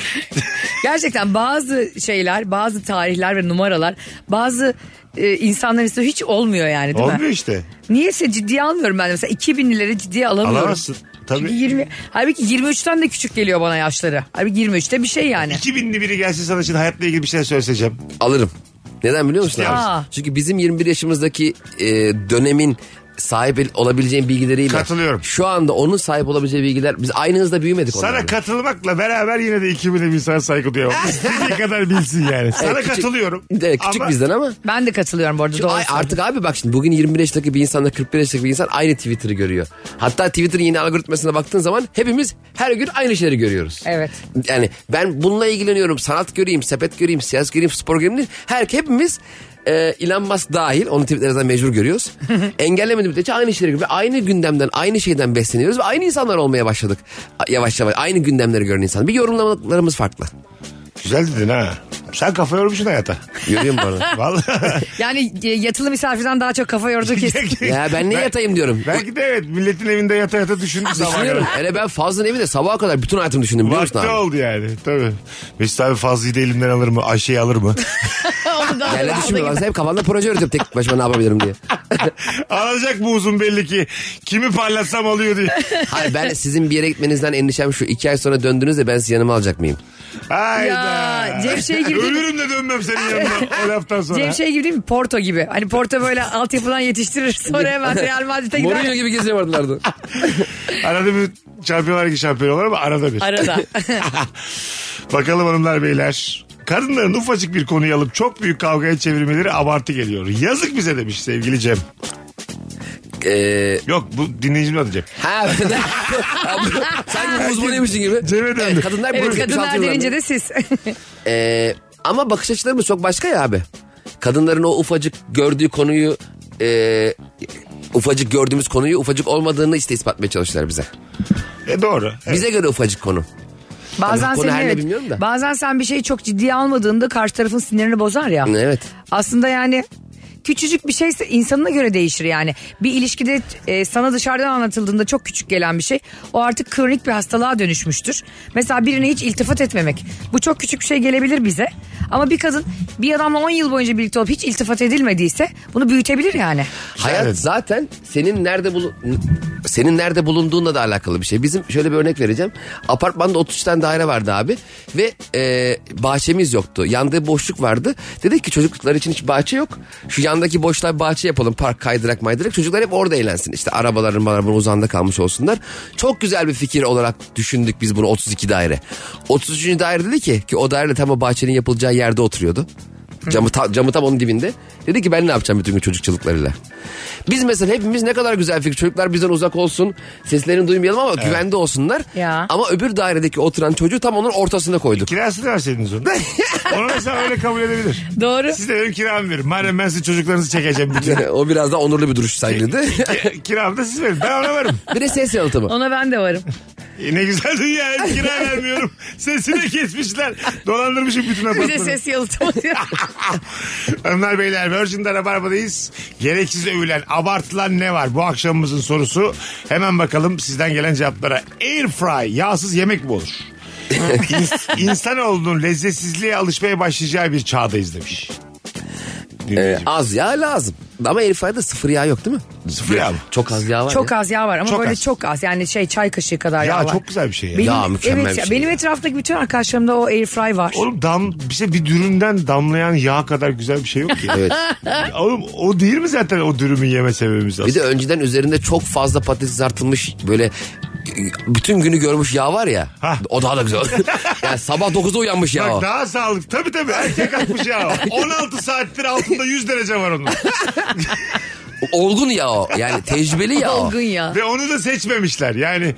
Gerçekten bazı şeyler, bazı tarihler ve numaralar bazı e, insanların üstüne hiç olmuyor yani değil
Olmuyor
mi?
işte.
Niyeyse ciddiye almıyorum ben de. Mesela 2000'leri ciddiye alamıyorum.
Alamazsın.
Çünkü
Tabii.
20, halbuki 23'ten de küçük geliyor bana yaşları. Halbuki 23'te bir şey yani.
2000'li biri gelse sana şimdi hayatla ilgili bir şey söyleyeceğim.
Alırım. Neden biliyor musun?
Ciddi
abi?
misin?
Çünkü bizim 21 yaşımızdaki e, dönemin sahip el- olabileceğin bilgileriyle.
Katılıyorum.
Şu anda onun sahip olabileceği bilgiler. Biz aynı hızda büyümedik
Sana
onlarla.
katılmakla beraber yine de 2000'li bir insana saygı duyuyorum. İstediği kadar bilsin yani. Sana
Evet, küçük-
katılıyorum.
Evet, küçük
ama
bizden ama.
Ben de katılıyorum bu arada. doğru
Ay,
söylüyorsun.
artık abi bak şimdi bugün 21 yaşındaki bir insanla 41 yaşındaki bir insan aynı Twitter'ı görüyor. Hatta Twitter'ın yeni algoritmasına baktığın zaman hepimiz her gün aynı şeyleri görüyoruz.
Evet.
Yani ben bununla ilgileniyorum. Sanat göreyim, sepet göreyim, siyaset göreyim, spor göreyim. değil. Her hepimiz e, Elon Musk dahil onu tweetlerimizden mecbur görüyoruz. Engellemediğim müddetçe aynı şeyleri görüyoruz. Ve aynı gündemden, aynı şeyden besleniyoruz ve aynı insanlar olmaya başladık. Yavaş yavaş aynı gündemleri gören insan. Bir yorumlamalarımız farklı.
Güzel dedin ha. Sen kafa yormuşsun hayata.
Görüyor musun bu arada?
Vallahi.
Yani e, yatılı misafirden daha çok kafa yordu kesin.
ya ben ne yatayım diyorum.
Belki de evet milletin evinde yata yata düşündü.
Düşünüyorum. Hele ben Fazlı'nın evinde sabaha kadar bütün hayatımı düşündüm biliyor musun
Vakti
abi?
oldu yani tabii. Mesut abi Fazlı'yı da elimden alır mı? Ayşe'yi alır mı?
Onu da
Yerle düşünmüyorum. Hep kafamda proje üretiyorum tek başıma ne yapabilirim diye.
Alacak bu uzun belli ki. Kimi parlatsam alıyor diye.
Hayır ben sizin bir yere gitmenizden endişem şu. iki ay sonra döndüğünüzde ben sizi yanıma alacak mıyım?
Hayda.
Ya, Cem şey gibi-
Ölürüm de dönmem senin yanına o laftan sonra.
Cem şey gibi değil mi? Porto gibi. Hani Porto böyle altyapıdan yetiştirir. Sonra hemen Real Madrid'e
Mourinho
gider.
gibi geziyor vardılardı.
Arada bir şampiyonlar ligi şampiyon olur ama arada bir.
Arada.
Bakalım hanımlar beyler. Kadınların ufacık bir konuyu alıp çok büyük kavgaya çevirmeleri abartı geliyor. Yazık bize demiş sevgili Cem.
Ee,
Yok bu dinleyicim adı Cem.
ha, ben de- Sanki uzmanıymışsın gibi.
Cem'e döndü.
Evet, kadınlar
Evet
böyle
kadınlar
76 yıllarında.
denince de siz.
Ee, ama bakış açılarımız çok başka ya abi. Kadınların o ufacık gördüğü konuyu e, ufacık gördüğümüz konuyu ufacık olmadığını işte ispatmaya çalıştılar bize.
E doğru. Evet.
Bize göre ufacık konu.
bazen
Konu
sen
her ne
evet,
bilmiyorum da.
bazen sen bir şeyi çok ciddiye almadığında karşı tarafın sinirini bozar ya.
Evet.
Aslında yani küçücük bir şeyse insanına göre değişir yani. Bir ilişkide e, sana dışarıdan anlatıldığında çok küçük gelen bir şey o artık kronik bir hastalığa dönüşmüştür. Mesela birine hiç iltifat etmemek. Bu çok küçük bir şey gelebilir bize. Ama bir kadın bir adamla 10 yıl boyunca birlikte olup hiç iltifat edilmediyse bunu büyütebilir yani.
Hayat
Evet.
zaten senin nerede bulun senin nerede bulunduğunla da alakalı bir şey. Bizim şöyle bir örnek vereceğim. Apartmanda 33 tane daire vardı abi ve e, bahçemiz yoktu. Yanda boşluk vardı. Dedik ki çocuklar için hiç bahçe yok. Şu yandaki boşluğa bir bahçe yapalım. Park kaydırak maydırak. Çocuklar hep orada eğlensin. İşte arabaların bunlar uzanda kalmış olsunlar. Çok güzel bir fikir olarak düşündük biz bunu 32 daire. 33. daire dedi ki ki o daire de tam o bahçenin yapılacağı yerde oturuyordu. Camı, ta- camı tam onun dibinde. Dedi ki ben ne yapacağım bütün gün çocukçılıklarıyla. Biz mesela hepimiz ne kadar güzel fikir. Çocuklar bizden uzak olsun. Seslerini duymayalım ama güvende olsunlar.
Ya.
Ama öbür dairedeki oturan çocuğu tam onun ortasına koyduk.
Kirasını verseydiniz onu. onu mesela öyle kabul edebilir.
Doğru.
Siz de benim kiramı verin. Madem ben sizin çocuklarınızı çekeceğim bütün.
o biraz daha onurlu bir duruş sergiledi.
Kiramı da siz verin. Ben ona varım.
bir de ses yalıtımı.
Ona ben de varım.
E ne güzel dünya. Hem kira vermiyorum. Sesini kesmişler. Dolandırmışım bütün
Bir
apartmanı.
de ses yalıtımı.
Hanımlar beyler Virgin'de Rabarba'dayız. Gereksiz övülen, abartılan ne var? Bu akşamımızın sorusu. Hemen bakalım sizden gelen cevaplara. Air fry, yağsız yemek mi olur? İns- İnsanoğlunun lezzetsizliğe alışmaya başlayacağı bir çağdayız demiş.
Ee,
Dinleyicim.
az yağ lazım. Ama Elif Ay'da sıfır yağ yok değil mi?
Sıfır yağ mı?
Çok az yağ var
çok
ya.
az yağ var ama
Çok
böyle
az.
çok az. Yani şey çay kaşığı kadar yağ,
Ya,
var.
çok güzel bir şey ya.
Benim,
Yağ mükemmel
evet,
bir
ya,
şey.
Benim etrafındaki bütün arkadaşlarımda o airfry var.
Oğlum dam, bir, şey, bir dürümden damlayan yağ kadar güzel bir şey yok ki.
Evet.
Oğlum o değil mi zaten o dürümün yeme sebebimiz aslında?
Bir de önceden üzerinde çok fazla patates kızartılmış böyle e, bütün günü görmüş yağ var ya.
Hah.
O daha da güzel. yani sabah 9'da uyanmış yağ o.
Bak daha sağlıklı. Tabii tabii erkek şey atmış ya. o. 16 saattir altında 100 derece var onun.
Olgun yağ o. Yani tecrübeli yağ o.
Olgun ya.
Ve onu da seçmemişler. Yani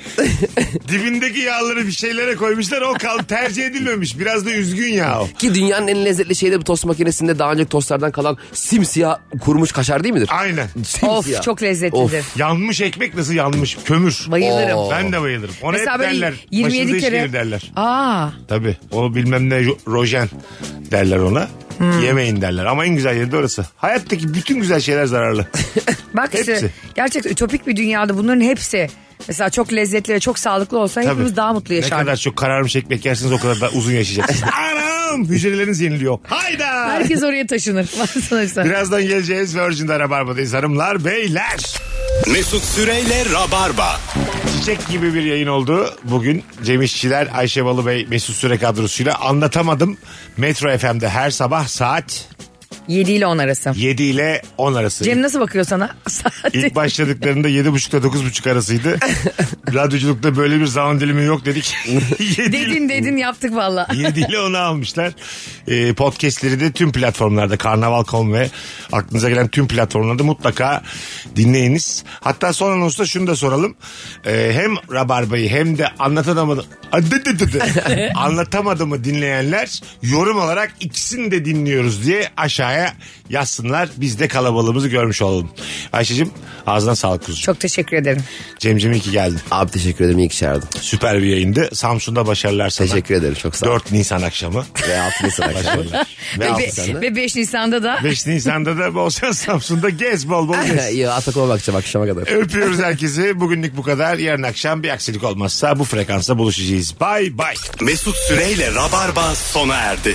dibindeki yağları bir şeylere koymuşlar. O kal tercih edilmemiş. Biraz da üzgün yağ o.
Ki dünyanın en lezzetli şeyi de bu tost makinesinde daha önceki tostlardan kalan simsiyah kurumuş kaşar değil midir?
Aynen.
Simsiyah.
Of çok lezzetlidir.
Of.
Yanmış ekmek nasıl yanmış? Kömür.
Bayılırım.
Oo.
Ben de bayılırım. Ona
Mesela
hep
böyle
derler.
27
Başınıza iş
kere-
gelir derler.
Aa,
Tabii. O bilmem ne ro- rojen derler ona.
Hmm.
Yemeyin derler. Ama en güzel yeri de orası. Hayattaki bütün güzel şeyler zararlı.
bak işte
Hepsi.
gerçek ütopik bir dünyada bunların hepsi mesela çok lezzetli ve çok sağlıklı olsa hepimiz daha mutlu
Ne kadar
yaşardık.
çok kararmış ekmek yersiniz o kadar da uzun yaşayacaksınız. Anam! Hücreleriniz yeniliyor. Hayda!
Herkes oraya taşınır. Baksana sen.
Birazdan geleceğiz. Virgin'de Rabarba'dayız hanımlar beyler.
Mesut Süreyle Rabarba.
Çiçek gibi bir yayın oldu. Bugün Cem İşçiler, Ayşe Balıbey, Mesut Süre kadrosuyla anlatamadım. Metro FM'de her sabah saat
7 ile 10 arası.
7 ile 10 arası.
Cem nasıl bakıyor sana? Saat-
İlk başladıklarında 7.30'da 9.30 arasıydı. Radyoculukta böyle bir zaman dilimi yok dedik. Yedi ile-
dedin dedin yaptık valla.
7 ile 10'a almışlar. Ee, podcastleri de tüm platformlarda Karnaval.com ve aklınıza gelen tüm platformlarda mutlaka dinleyiniz. Hatta son anonsta şunu da soralım. Ee, hem Rabarba'yı hem de anlatamadı, Adıdıdıdı. anlatamadığımı dinleyenler yorum olarak ikisini de dinliyoruz diye aşağıya yazsınlar. Biz de kalabalığımızı görmüş olalım. Ayşe'cim ağzına sağlık kuzucuğum.
Çok teşekkür ederim.
Cemcim iyi ki geldin.
Abi teşekkür ederim iyi ki çağırdın.
Süper bir yayındı. Samsun'da başarılar sana.
Teşekkür ederim çok sağ ol.
4 Nisan akşamı.
Ve altını sana akşam.
Başarılar.
Ve,
Ve
be- ve 5 Nisan'da da
5 Nisan'da da bol şans Samsun'da gez bol bol gez.
İyi Atakum'a bakacağım akşama kadar.
Öpüyoruz herkesi. Bugünlük bu kadar. Yarın akşam bir aksilik olmazsa bu frekansta buluşacağız. Bay bay.
Mesut Süreyle Rabarba sona erdi.